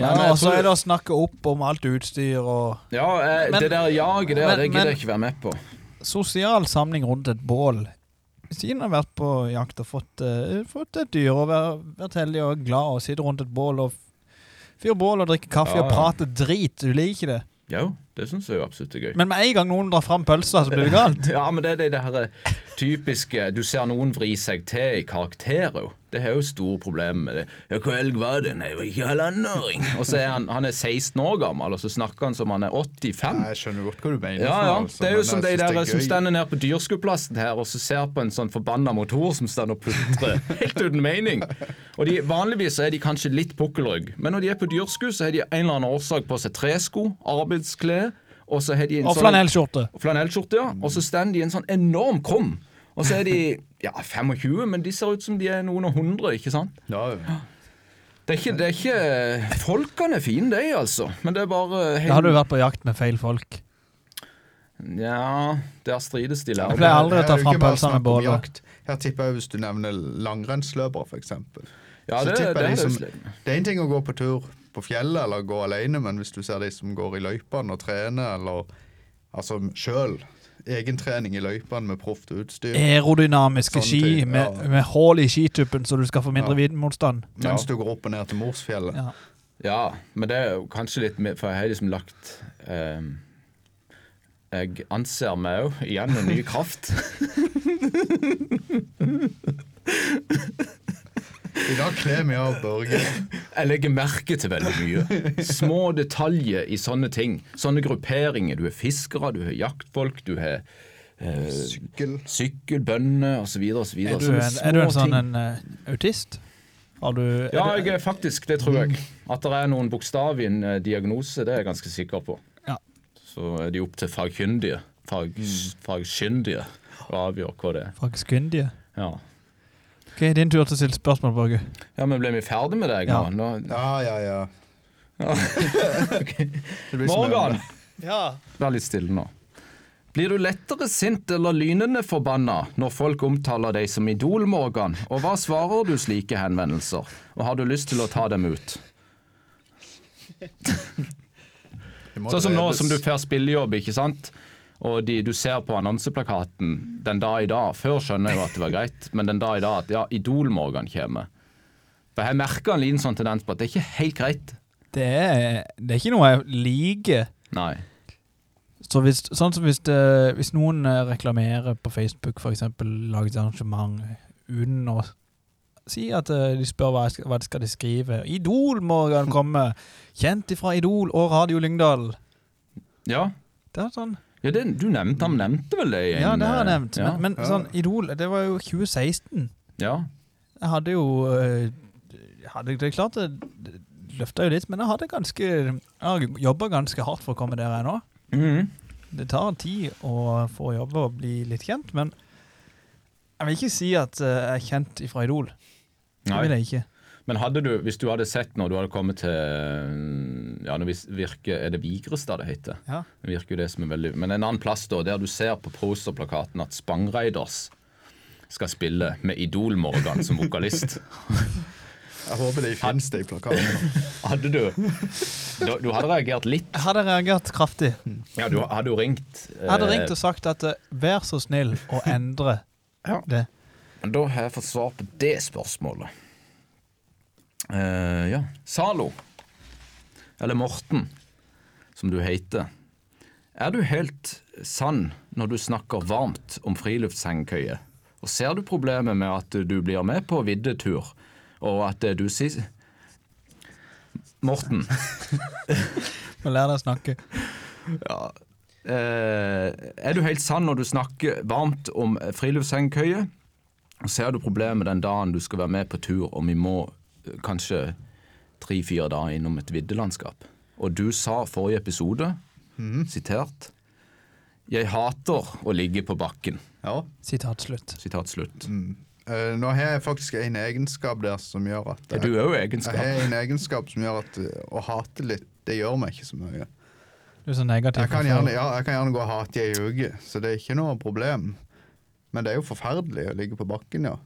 Ja, men jeg og så tror- er det å snakke opp om alt utstyr og Ja, eh, Men- det der jaget der, men- det gidder men- jeg ikke være med på. Sosial samling rundt et bål. Hvis ingen har vært på jakt og fått, eh, fått et dyr og vært, vært heldig og glad og sitte rundt et bål og fyre bål og drikke kaffe Ja, og ja. prate drit, du liker ikke det. Jo, det syns jeg jo absolutt er gøy. Men med en gang noen drar fram pølsa, så blir det galt. ja, men det er det, det her eh, typiske Du ser noen vri seg til i karakterer. jo. Det har jo store problemer med det. Ja, 'Hvor elg var den? Jeg var ikke halvannenåring.' Og så er han, han er 16 år gammel, og så snakker han som han er 85. Nei, jeg skjønner godt hva du mener. Ja, for ja. noe, altså, Det er jo men som de jeg synes der det er som gøy. stender nede på dyrskueplassen her og så ser på en sånn forbanna motor som står og putrer. Helt uten mening. Og de, Vanligvis er de kanskje litt pukkelrygg, men når de er på dyrsku, så har de en eller annen årsak på seg tresko, arbeidsklær, og så har de en Og sånn- flanellskjorte. og flanellskjorte, ja. Og så står de i en sånn enorm krum. Og så er de ja, 25, men de ser ut som de er noen og hundre, ikke sant? Ja, ja. Det er ikke, det er ikke Folkene er fine, de, altså. Men det er bare Da har du vært på jakt med feil folk. Ja, der strides de Jeg lærde. pleier aldri å Her ta er det fram ikke bare pølsa med snakk om bålet. jakt. Her tipper jeg hvis du nevner langrennsløpere, f.eks. Ja, det, det, er liksom- som, det, det er en ting å gå på tur på fjellet eller gå alene, men hvis du ser de som går i løypene og trener, eller altså sjøl egentrening i løypene med proft utstyr Aerodynamiske Sånn ski type, med, ja. med hull i skituppen, så du skal få mindre Ja. vindmotstand. mens du går opp og ned til Morsfjellet. Ja. Ja, men det er jo kanskje litt mer, for jeg har liksom lagt eh, Jeg anser meg òg igjen med ny kraft. I dag kler vi av Børge. Jeg legger merke til veldig mye. Små detaljer i sånne ting. Sånne grupperinger. Du er fiskere, du har jaktfolk, du har eh, Sykkel. sykkelbønder osv. osv. Er, du en, er du en sånn en, eh, autist? Har du er Ja, du- jeg, er faktisk, det tror jeg. At det er noen bokstav i en eh, diagnose, det er jeg ganske sikker på. Ja. Mm. Så er de opp til fagkyndige. Fag, Fagkyndige å avgjøre hva det er. Faktisk kyndige. Ja. Ok, Din tur til å stille spørsmål, Børge. ja, men ble vi ferdig med deg Ja. nå? nå? Ja, ja, ja. Det blir som Morgan! en- Ja. Vær litt stille nå. Blir du lettere sint eller lynende forbanna når folk omtaler deg som idol, Morgan? Og hva svarer du slike henvendelser? Og har du lyst til å ta dem ut? Det må Sånn som nå dreves. som du får spillejobb, ikke sant? Og de, du ser på annonseplakaten den dag i dag. Før skjønner jeg jo at det var greit, men den dag i dag at ja, Idol-Morgan kommer. For jeg merker en liten sånn tendens på at det er ikke helt greit. Det er, det er ikke noe jeg liker. Nei. Så hvis, sånn som hvis, det, hvis noen eh, reklamerer på Facebook, f.eks. lager et arrangement uten å si at eh, de spør hva, jeg skal, hva de skal de skrive. Idol, Morgan, komme! Kjent ifra Idol og Radio Lyngdal. Ja, Det er sånn. ja det, du nevnte Han nevnte vel det? i en, Ja, det har jeg eh, nevnt. Ja. Men, men Ja. sånn, Idol, det var jo 2016. ja. Jeg hadde jo eh, jeg hadde, Det er klart det løfta jo litt, men jeg hadde ganske Jeg har jobba ganske hardt for å komme der jeg er nå. Mhm. Det tar tid å få jobbe og bli litt kjent, men jeg vil ikke si at eh, jeg er kjent ifra Idol. Det Nei. vil jeg ikke. Men hadde du, hvis du hadde sett når du hadde kommet til mm, Ja, nå vis- virker, er det Vigrestad det heter? Ja. Det virker jo det som er veldig Men en annen plass da, der du ser på posterplakaten at Spangreiders skal spille med Idol-Morgan som vokalist. Jeg håper de finnes, de plakatene. Hadde du Du du hadde reagert litt. Jeg hadde reagert kraftig. Ja, du hadde jo ringt. Jeg hadde ringt og sagt at eh, vær så snill å endre Ja. det. Da har jeg fått svar på det spørsmålet. Eh, ja. Zalo, eller Morten, som du heter. Er du helt sann når du snakker varmt om friluftshengekøye? Og ser du problemet med at du blir med på viddetur, og at det du sier Morten. Nå lærer jeg å snakke. Eh, er du helt sann når du snakker varmt om friluftshengekøye? Og ser du problemet den dagen du skal være med på tur, og vi må eh, kanskje tre-fire dager innom et viddelandskap? Og du sa forrige episode, Mhm. sitert Jeg hater å ligge på bakken. Ja. Sitat slutt. Sitat slutt. Eh, nå har jeg faktisk en egenskap der som gjør at eh, Er du òg Jeg egenskap? har en egenskap som gjør at eh, å hate litt, det gjør meg ikke så mye. Du er så negativ. Jeg kan for- gjerne, ja, jeg kan gjerne gå og hate i ei uke, så det er ikke noe problem. Men det er jo forferdelig å ligge på bakken, ja.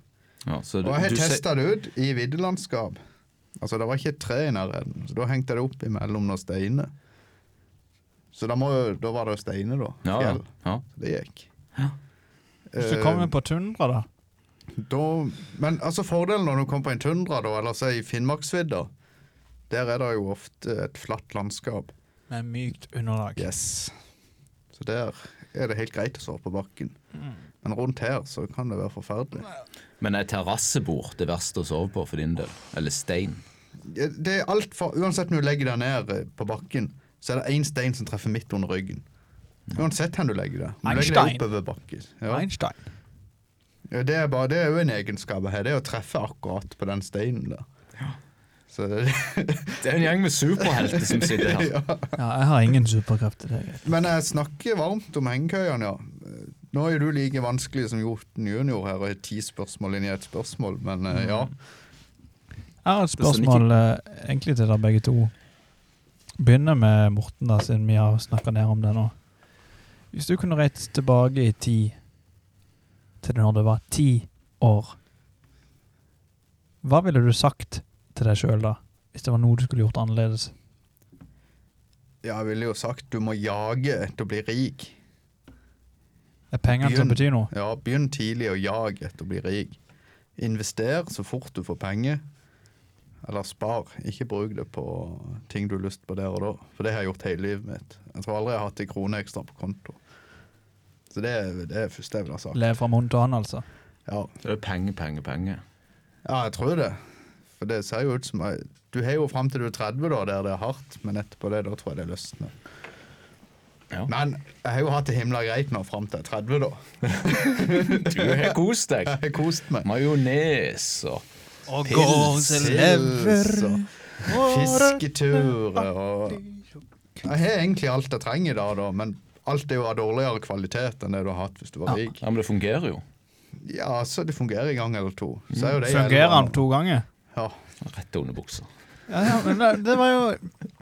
Ja, så Og du, jeg har du ser- testa det ut i viddelandskap. Altså, det var ikke et tre i nærheten, så da hengte jeg det opp imellom noen steiner. Så da, må, jo- da var det jo steiner, da. ja, ja, Fjell. ja. Så det gikk. Eh, Hvis du kommer på tundra, da. Da, men altså fordelen når du kommer på en tundra, da, eller si i Finnmarksvidda, der er det jo ofte et flatt landskap. Med mykt underlag. Yes. Så der er det helt greit å sove på bakken. Men rundt her så kan det være forferdelig. Men er terrassebord det verste å sove på for din del? Eller stein? Det er alt for, Uansett når du legger deg ned eh, på bakken, så er det én stein som treffer midt under ryggen. Uansett hvor du legger deg. Om du legger Einstein. deg oppover bakken. Ja. Einstein. Ja, Det er bare- det er jo en egenskap her, det er å treffe akkurat på den steinen der. Så det, Det er en gjeng med superhelter som sitter her. ja. Ja, jeg har ingen superkrefter. Det er greit. Men jeg snakker varmt om hengekøyene, ja. Nå er jo du like vanskelig som Jotun junior her og har ti spørsmål inn i et spørsmål, men eh, ja. Mm. Jeg har et er sånn ikke- spørsmål eh, egentlig til dere begge to. Begynner med Morten, da, siden vi har snakka ned om det nå. Hvis du kunne reist tilbake i tid, til når det var ti år, hva ville du sagt til deg sjøl da? Hvis det var noe du skulle gjort annerledes? Ja, jeg ville jo sagt du må jage etter å bli rik. Er pengene som Begynn. betyr noe? Ja, begynn tidlig å jage etter å bli rik. Invester så fort du får penger. Eller spar. Ikke bruk det på ting du har lyst på der og da. For det har jeg gjort hele livet mitt. Jeg tror aldri jeg har hatt en krone ekstra på konto. Så det er det er det første jeg ville ha sagt. Leve fra munn til hånd, altså. Ja. Det er penger, penger, penger. ja, jeg tror det. For det ser jo ut som jeg, Du har jo fram til du er 30, da, der det er hardt, men etterpå det, da tror jeg det løsner. Ja. Men jeg har jo hatt det himla greit nå fram til jeg er 30, da. Du har kost deg. Jeg har kost meg. Majones og Og og fisketurer og Jeg har egentlig alt jeg trenger i dag, da, men alt er jo av dårligere kvalitet enn det du har hatt hvis du var rik. Ja, men det fungerer jo. Ja, så det fungerer en gang eller to. Så er jo det Fungerer han eldre, to ganger? da. Ja. Rett til underbuksa. Ja, ja, men det, det var jo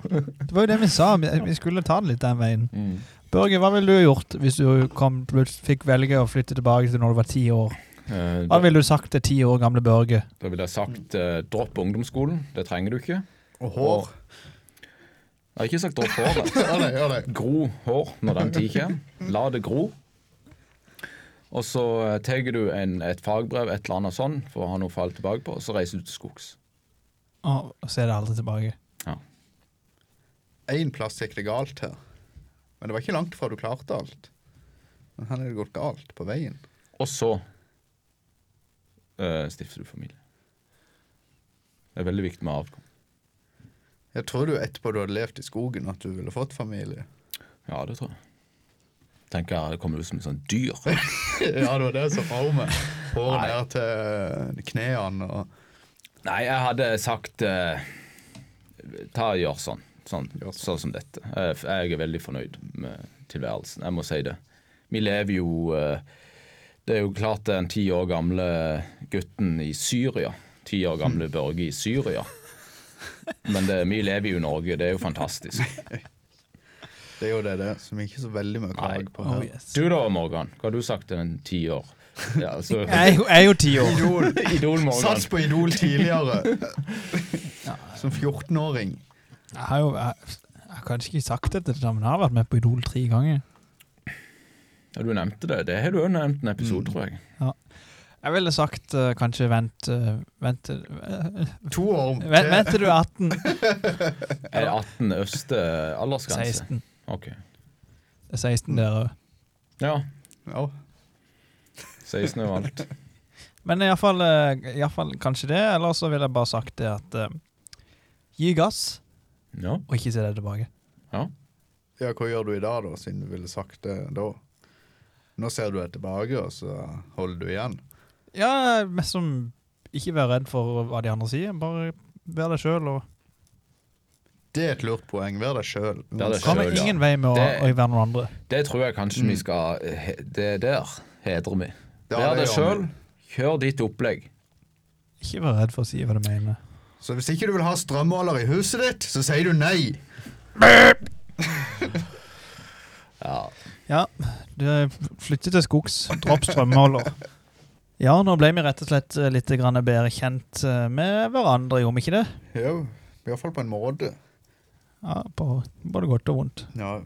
Det var jo det vi sa. Vi, vi skulle ta det litt den veien. Mm. Børge, hva ville du gjort hvis du kom, plutselig fikk velge å flytte tilbake til når du var ti år? Eh, Hva da, ville du sagt til ti år gamle Børge? da ville jeg sagt eh, dropp ungdomsskolen. Det trenger du ikke. Og hår. Jeg har ikke sagt dropp håret. Ja, det, ja, det. Gro hår når den tid kommer. La det gro. Og så eh, tar du en, et fagbrev, et eller annet sånn, for å ha noe å falle tilbake på, og så reiser du til skogs. Og så er det aldri tilbake. Én plass gikk det galt her. Men det var ikke langt fra du klarte alt. Men her er det gått galt på veien. Og så eh, stifter du familie. Det er veldig viktig med avkom. Jeg tror du etterpå du hadde levd i skogen, at du ville fått familie. Ja, det tror jeg. Tenker jeg det kommer ut som et sånt dyr. Ja, det var det som var med. Håret ned til knærne og Nei, jeg hadde sagt eh, Ta og gjør sånn. Sånn, sånn som dette. Jeg, jeg er veldig fornøyd med tilværelsen. Jeg må si det. Vi lever jo eh, Det er jo klart den ti år gamle gutten i Syria. Ti år gamle Børge i Syria. Men det, vi lever jo i Norge, det er jo fantastisk. Det er jo det, det som ikke er så veldig mye å klage på. Oh, her. yes. Du da, Morgan? Hva har du sagt til en ti år? Ja, altså, Jeg er jo- jeg er jo ti år. Idol. Idol-Morgan. Sats på Idol tidligere. Som 14-åring. Jeg har jo jeg, jeg har kanskje ikke sagt det til deg, men jeg har vært med på Idol tre ganger. Ja, du nevnte det. Det har du òg nevnt en Mm. episode, tror jeg. Jeg ville sagt eh, kanskje vent eh, Vent til eh, To år vent, vent til du er 18. Er det 18 øverste aldersgrense? 16. Ok. Det er 16 der òg. Ja, Ja. 16 er jo alt. Men iallfall eh, kanskje det, eller så ville jeg bare sagt det at eh, Gi gass, Ja. og ikke se deg tilbake. ja, hva gjør du i dag, da, siden du ville sagt det da? Nå ser du deg tilbake, og så holder du igjen. Ja, mest som ikke være redd for hva de andre sier. Bare vær deg sjøl. Og Det er et lurt poeng. Vær deg sjøl. Vær deg kommer Selv, ja. ingen vei med å, Det- å være noen andre. Det tror jeg kanskje vi skal he- Det der hedrer vi. Mm. Ja, Vær det deg gjør sjøl, vi. kjør ditt opplegg. Ikke vær redd for å si hva du mener. Så hvis ikke du vil ha strømmåler i huset ditt, så sier du nei. Ja. Ja, du flytter til skogs. Dropp strømmåler. Ja, nå ble vi rett og slett eh, litt grann bedre kjent eh, med hverandre, gjorde vi ikke det? Jo, i hvert fall på en måte. Ja, på både godt og vondt. Ja.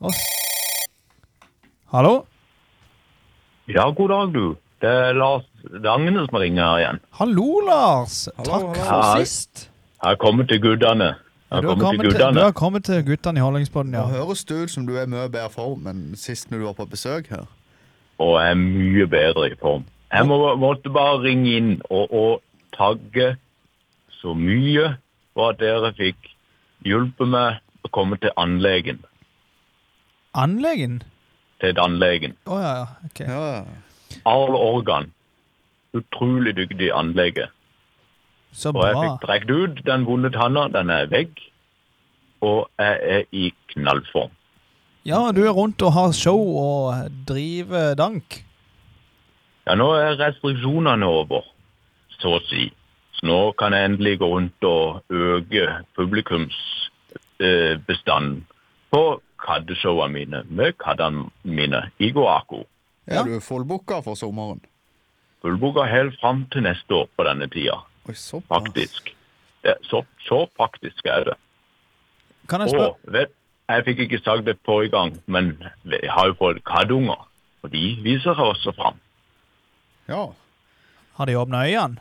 Oss. Hallo? Ja, god dag, du. Det er Lars Dagnes som ringer her igjen. Hallo, Lars! Takk for Hei. sist. Jeg har kommet til guddene. Jeg Du har har kommet kommet til til, du guddene. har kommet til guttene i Holdingspodden, ja. Nå høres det ut som du er i mye bedre form enn sist når du var på besøk her. Og jeg er mye bedre i form. Jeg må, måtte bare ringe inn og, og tagge så mye for at dere fikk hjulpet meg å komme til anlegen. Anleggen? Til anlegen. Å ja, ja. Ok. Ja, Arl Organ. Utrolig dyktig anlege. Så Og jeg bra. fikk trukket ut den vonde tanna. Den er vekk. Og jeg er i knallform. Ja, du er rundt og har show og driver dank. Ja, nå er restriksjonene over, så å si. Så nå kan jeg endelig gå rundt og øke publikumsbestanden på kaddeshowene mine med kaddene mine i Goaco. ja. Er du fullbooka for sommeren? fullbooka helt fram til neste år på denne tida, Oi, såpass. faktisk. Det, er så, så praktisk er det. Kan jeg spørre? Og vet, jeg fikk ikke sagt det forrige gang, men jeg har jo fått kaddunger, og de viser seg også fram. Ja. Har de åpna øynene?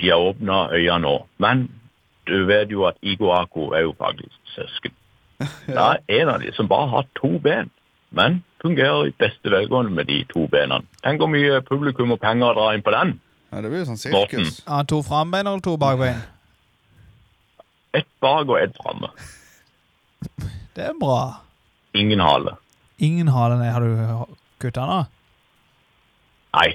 De har åpna øya nå, men du vet jo at Iguaco er jo faktisk søsken. Det er en av de som bare har to ben, men fungerer i beste velgående med de to benene. Tenk hvor mye publikum og penger drar inn på den. ja. Det blir jo sånn sirkus. Har han to frambein eller to bakbein? Ett bak og ett framme. Det er bra. Ingen hale. Ingen har den. Har du kutta den av? Nei.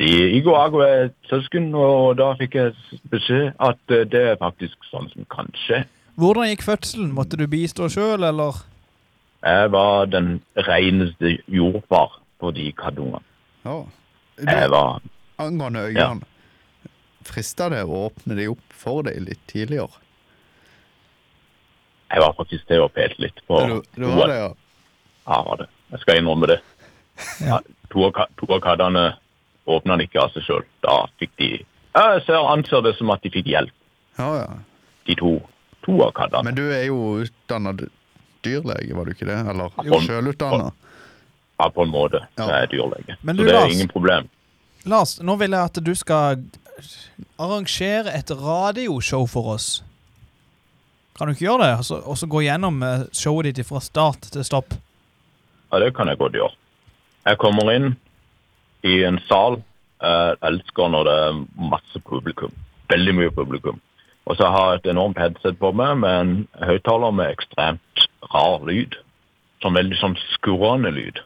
De, Iguaco er et søsken, og da fikk jeg s- beskjed at eh, det er faktisk sånn som kan skje. Hvordan gikk fødselen? Måtte du bistå sjøl, eller? Jeg var den reneste jordfar på de kaddungene. Ja. Jeg Du, var angående øynene, frister det å åpne de opp for deg litt tidligere? Jeg var faktisk til å pete litt på Du, du har det, ja. Ja, var det. Jeg skal innrømme det. Ja. To av, ka- to av kaddene åpna den ikke av seg sjøl. Da fikk de Jeg ser, anser det som at de fikk hjelp, ja, ja. de to, to av kaddene. Men du er jo utdanna dyrlege, var du ikke det? Eller Jo. sjølutdanna? Ja, på en måte. Ja. Jeg er dyrlege. Men Så du, det er Lars- ingen problem. Lars, nå vil jeg at du skal arrangere et radioshow for oss. Kan du ikke gjøre det? Og så- Og så gå gjennom eh, showet ditt fra start til stopp. Ja, det kan jeg godt gjøre. Jeg kommer inn i en sal. Jeg elsker når det er masse publikum. Veldig mye publikum. Og så har jeg et enormt headset på meg med en høyttaler med ekstremt rar lyd. Sånn veldig sånn skurrende lyd.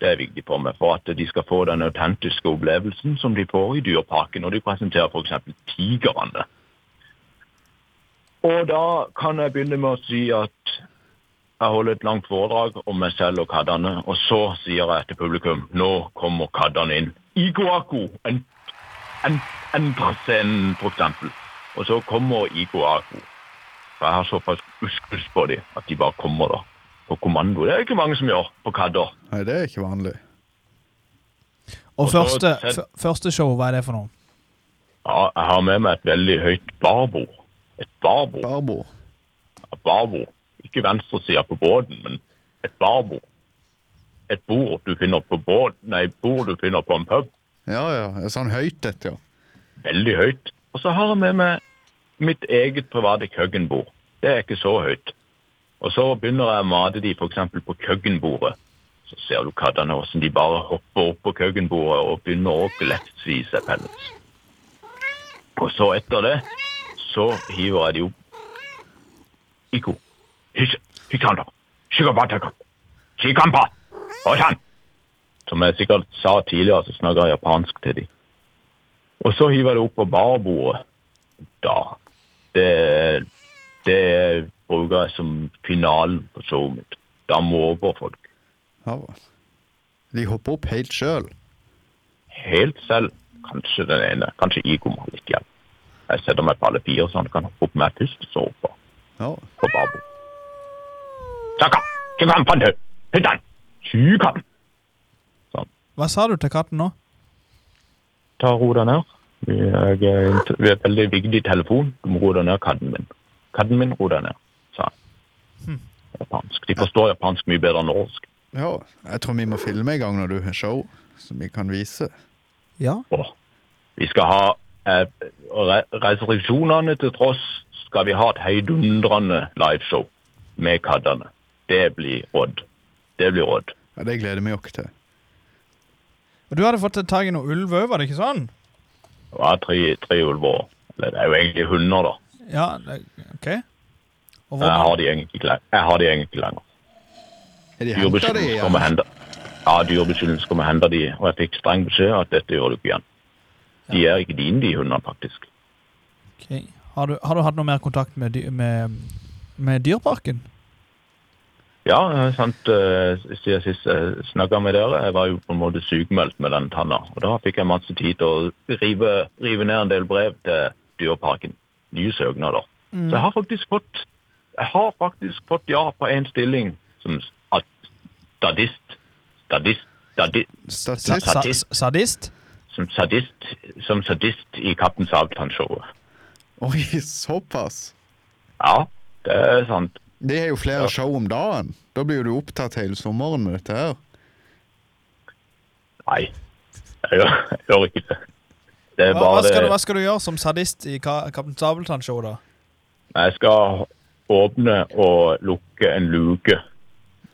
Det er viktig for meg, for at de skal få den autentiske opplevelsen som de får i Dyreparken når de presenterer f.eks. tigrene. Og da kan jeg begynne med å si at jeg holder et langt foredrag om meg selv og kaddene, og så sier jeg til publikum nå kommer kaddene inn. Iguaku! En, en, endre scenen, for eksempel. Og så kommer Iguaku. For jeg har såpass uskus på dem at de bare kommer da, på kommando. Det er ikke mange som gjør på kadder. Nei, det er ikke vanlig. Og Og så- første, f første show, hva er det for noe? Ja, jeg har med meg et veldig høyt barbord. Et barbord. Barbo. et barbord. Ikke venstresida på båten, men et barbord. Et bord du finner på båt, nei, bord du finner på en pub. Ja, ja. Sånn høyt et, ja. veldig høyt. Og så har jeg med meg mitt eget private kjøkkenbord. Det er ikke så høyt. Og så begynner jeg å mate de f.eks. på kjøkkenbordet. Så ser du kattene hvordan de bare hopper opp på kjøkkenbordet og begynner å glefse i seg pellets. Og så etter det så hiver jeg de opp. Iko. Hysj. Hysjanda. Sjukabataka. Shikampa. Osan. Som jeg sikkert sa tidligere, så snakker jeg japansk til de. Og så hiver jeg det opp på barbordet. Da. Det, det bruker jeg som finalen på showet mitt. Da måper folk Ja, hva? De hopper opp helt sjøl. helt selv. Kanskje den ene. Kanskje Igor må ha litt hjelp. Jeg setter meg på alle fire, så han kan hoppe opp med først, og så opp på- Ja. på barbordet. Takka! Kikkan, fantø! Pyttan! Tjukan! Hva sa du til katten nå? Ta ro deg ned. Vi er, eh, vi er veldig viktig telefon. Du må ro deg ned, katten min. Katten min, ro deg ned, sa han. Japansk. De forstår japansk mye bedre enn norsk. ja. Jeg tror vi må filme i gang når du har show, som vi kan vise. Ja. Åh, Vi skal ha eh, re restriksjonene til tross skal vi ha et heidundrende liveshow med kaddene. Det blir råd. Det blir råd. Ja, Det gleder vi oss til. Og du hadde fått tak i noe ulv òg, var det ikke sånn? Det var tre, tre ulver. Eller det er jo egentlig hunder, da. Ja, det- OK. Og Men Jeg hvordan, har de egentlig ikke lenger. Jeg har de egentlig ikke lenger. Er de henta, de? Dyrebeskyttelsen igjen? kom og henta Ja, dyrebeskyttelsen kom og henta de, og jeg fikk streng beskjed at dette gjør du ikke igjen. De er ikke dine, de hundene, faktisk. Ok. har, du, har du hatt noe mer kontakt med, dy- med, med Dyreparken? Ja, eh, sant. eh, Siden sist jeg snakka med dere, jeg var jo på en måte sykemeldt med den tanna. Og da fikk jeg masse tid til å rive, rive ned en del brev til Dyreparken. Nye søknader. Så jeg har faktisk fått jeg har faktisk fått ja på én stilling som s- at- statist. Statist. Sadi Statist? Sa Sadist. sadist? som, sadist, som sadist i Kaptein Sabeltann-showet. Oi, såpass! Ja, det er sant. De har jo flere show om dagen. Da blir jo du opptatt hele sommeren med dette her. Nei, jeg gjør, jeg gjør ikke det. Det er Hva, hva, bare skal du, hva det. skal du gjøre som sadist i Ka Kaptein Sabeltann-show, da? Jeg skal åpne og lukke en luke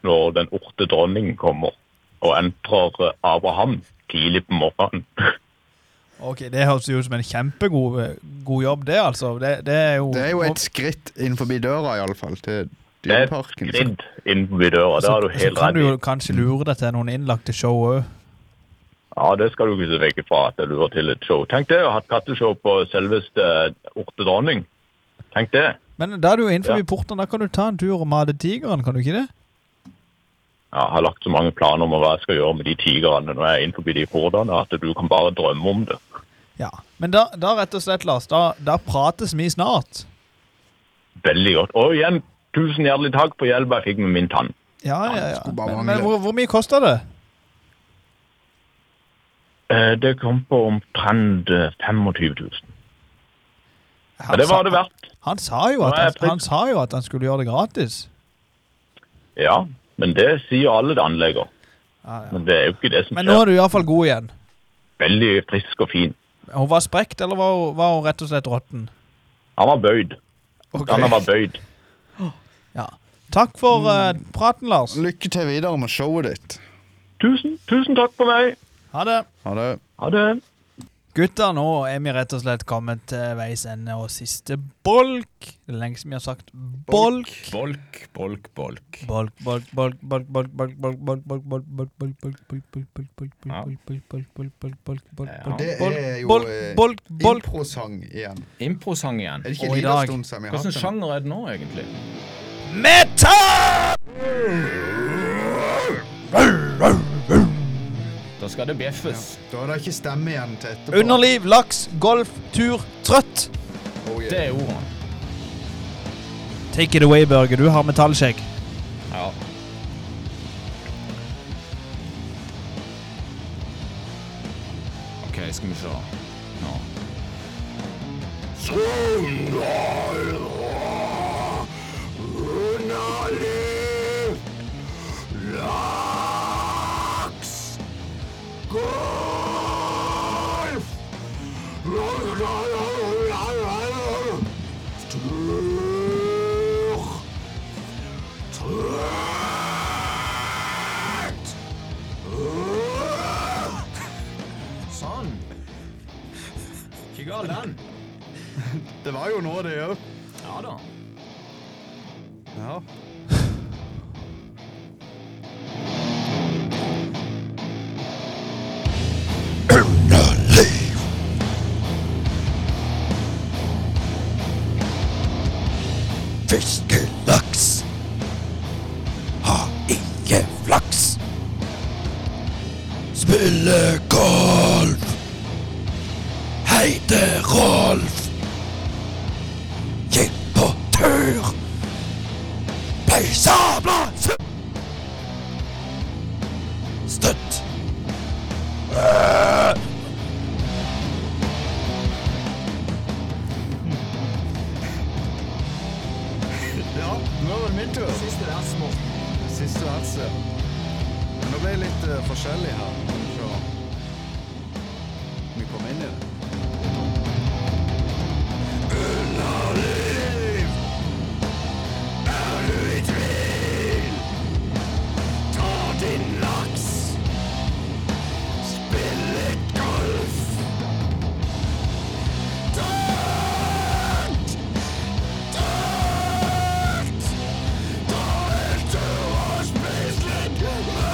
når den orte dronningen kommer og entrer Abraham tidlig på morgenen. Ok, Det høres jo ut som en kjempegod eh, god jobb, det, altså. Det, det er jo, Det er jo et skritt innenfor døra, iallfall, til Det er et Dyreparken. skridd innenfor døra, det har du så, så helt kan rett du i. jo kanskje Mm. lure deg til noen innlagte show òg. Ja, det skal du ikke se vekk fra at jeg lurer til et show. Tenk det, å ha et katteshow på selveste orte dronning. Tenk det. Men da er du jo innenfor Ja. porten, da kan du ta en tur og mate tigeren, kan du ikke det? jeg har lagt så mange planer om hva jeg skal gjøre med de tigrene når jeg er innenfor de hordene, at du kan bare drømme om det. Ja. Men da, da rett og slett, Lars, da, da prates vi snart. Veldig godt. Og igjen, tusen hjertelig takk for hjelpen jeg fikk med min tann. Ja, ja, ja. skulle bare Men, mangle. men hvor, hvor mye koster det? Eh, Det kom på omtrent eh, 25 000. Ja, det var det verdt. Han sa jo Nå at er jeg han, frisk. han, sa jo at han skulle gjøre det gratis. Ja, men det sier alle det anlegger. Ja, ja. Men det er jo ikke det som Men nå skjer. er du iallfall god igjen. Veldig frisk og fin. Hun var sprekt, eller var hun, var hun rett og slett råtten? Han var bøyd. Ok. Han var bøyd. Ja. Takk for eh, Mm. praten, Lars. Lykke til videre med showet ditt. Tusen, tusen takk for meg. Ha det. Ha det. Ha det. Gutter, nå er vi rett og slett kommet til veis ende og siste bolk. Det er lenge siden vi har sagt bolk. Bolk, bolk, bolk. Bolk, bolk, bolk, bolk, bolk, bolk, bolk, bolk, bolk, bolk, bolk, bolk, bolk, bolk, bolk, bolk, bolk, bolk, Ja. bolk, bolk, bolk, bolk, bolk, bolk, bolk, Ja. bolk, Det bolk, er jo, bolk, eh, bolk, bolk. Improsang igjen. Improsang igjen. Er det ikke Og i en dag- liten stund siden vi har Hvilken hatt den? sjanger er det nå, egentlig? Metal! Da skal det bjeffes. Da er det ikke stemme igjen til etterpå. Underliv, laks, golf, tur, trøtt. Oh, yeah. Det er ordene. Take it away, Børge. Du har metallskjegg. Ja. OK, skal vi se. Nå. Sånn. Ikke gal den. Det var jo nå, det òg. Ja da. Ja. Fiskelaks har ikke flaks. Spille golf heter Rolf. Gikk på tur. Peisabla fu- Støtt. ja, nå var det min tur. Siste vers, Morten. Siste verset. Men nå ble jeg litt eh, forskjellig her. Skal vi se om vi kommer inn i det. Spis litt løk.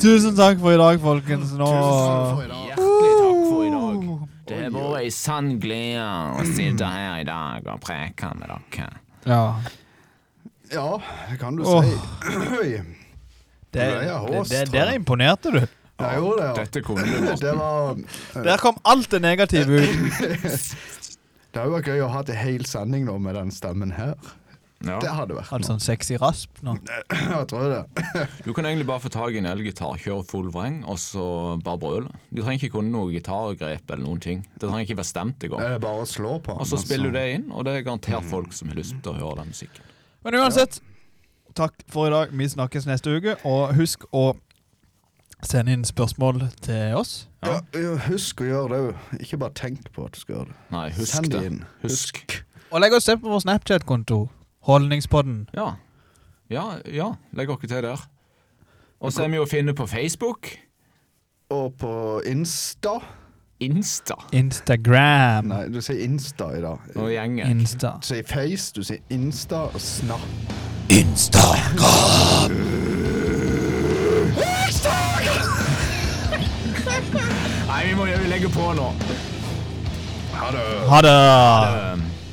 Tusen takk for i dag, folkens. Nå for i dag. Hjertelig takk for i dag. Det har vært ei sann glede å sitte her i dag og preke med dere. Ja. Ja, det kan du Åh. si. Oi. Det, Nei, jeg har det, det, oss, tror der jeg. imponerte du. Jeg gjorde det, Dette kunne du, ja. Morten. Det var, Der kom alt det negative ut. det hadde vært gøy å ha til hel sending nå med den stemmen her. Det Ja. hadde vært Hadde sånn sexy rasp nå. Jeg tror det. Du kan egentlig bare få tak i en elgitar, kjøre full vreng, og så bare brøle. Du trenger ikke kunne noe gitargrep eller noen ting. Det trenger ikke være stemt Det engang. er bare å slå på den. Og så spiller du det inn, og det er garantert folk som har lyst til å høre den musikken. Men uansett, takk for i dag. Vi snakkes neste uke. Og husk å sende inn spørsmål til oss. Ja, ja, husk å gjøre det òg. Ikke bare tenk på at du skal gjøre det. Nei, husk Send det. det inn. Husk. Og legg oss til på vår Snapchat-konto. Holdningspodden. Ja. Ja, ja. Legg dere til der. Og så er vi jo å finne på Facebook. Og på Insta Insta Instagram. Nei, du sier Insta i dag. og gjengen. Insta. Du sier Face, du sier Insta og Snap. Instagram. Nei, vi må legge på nå. Ha det! Um,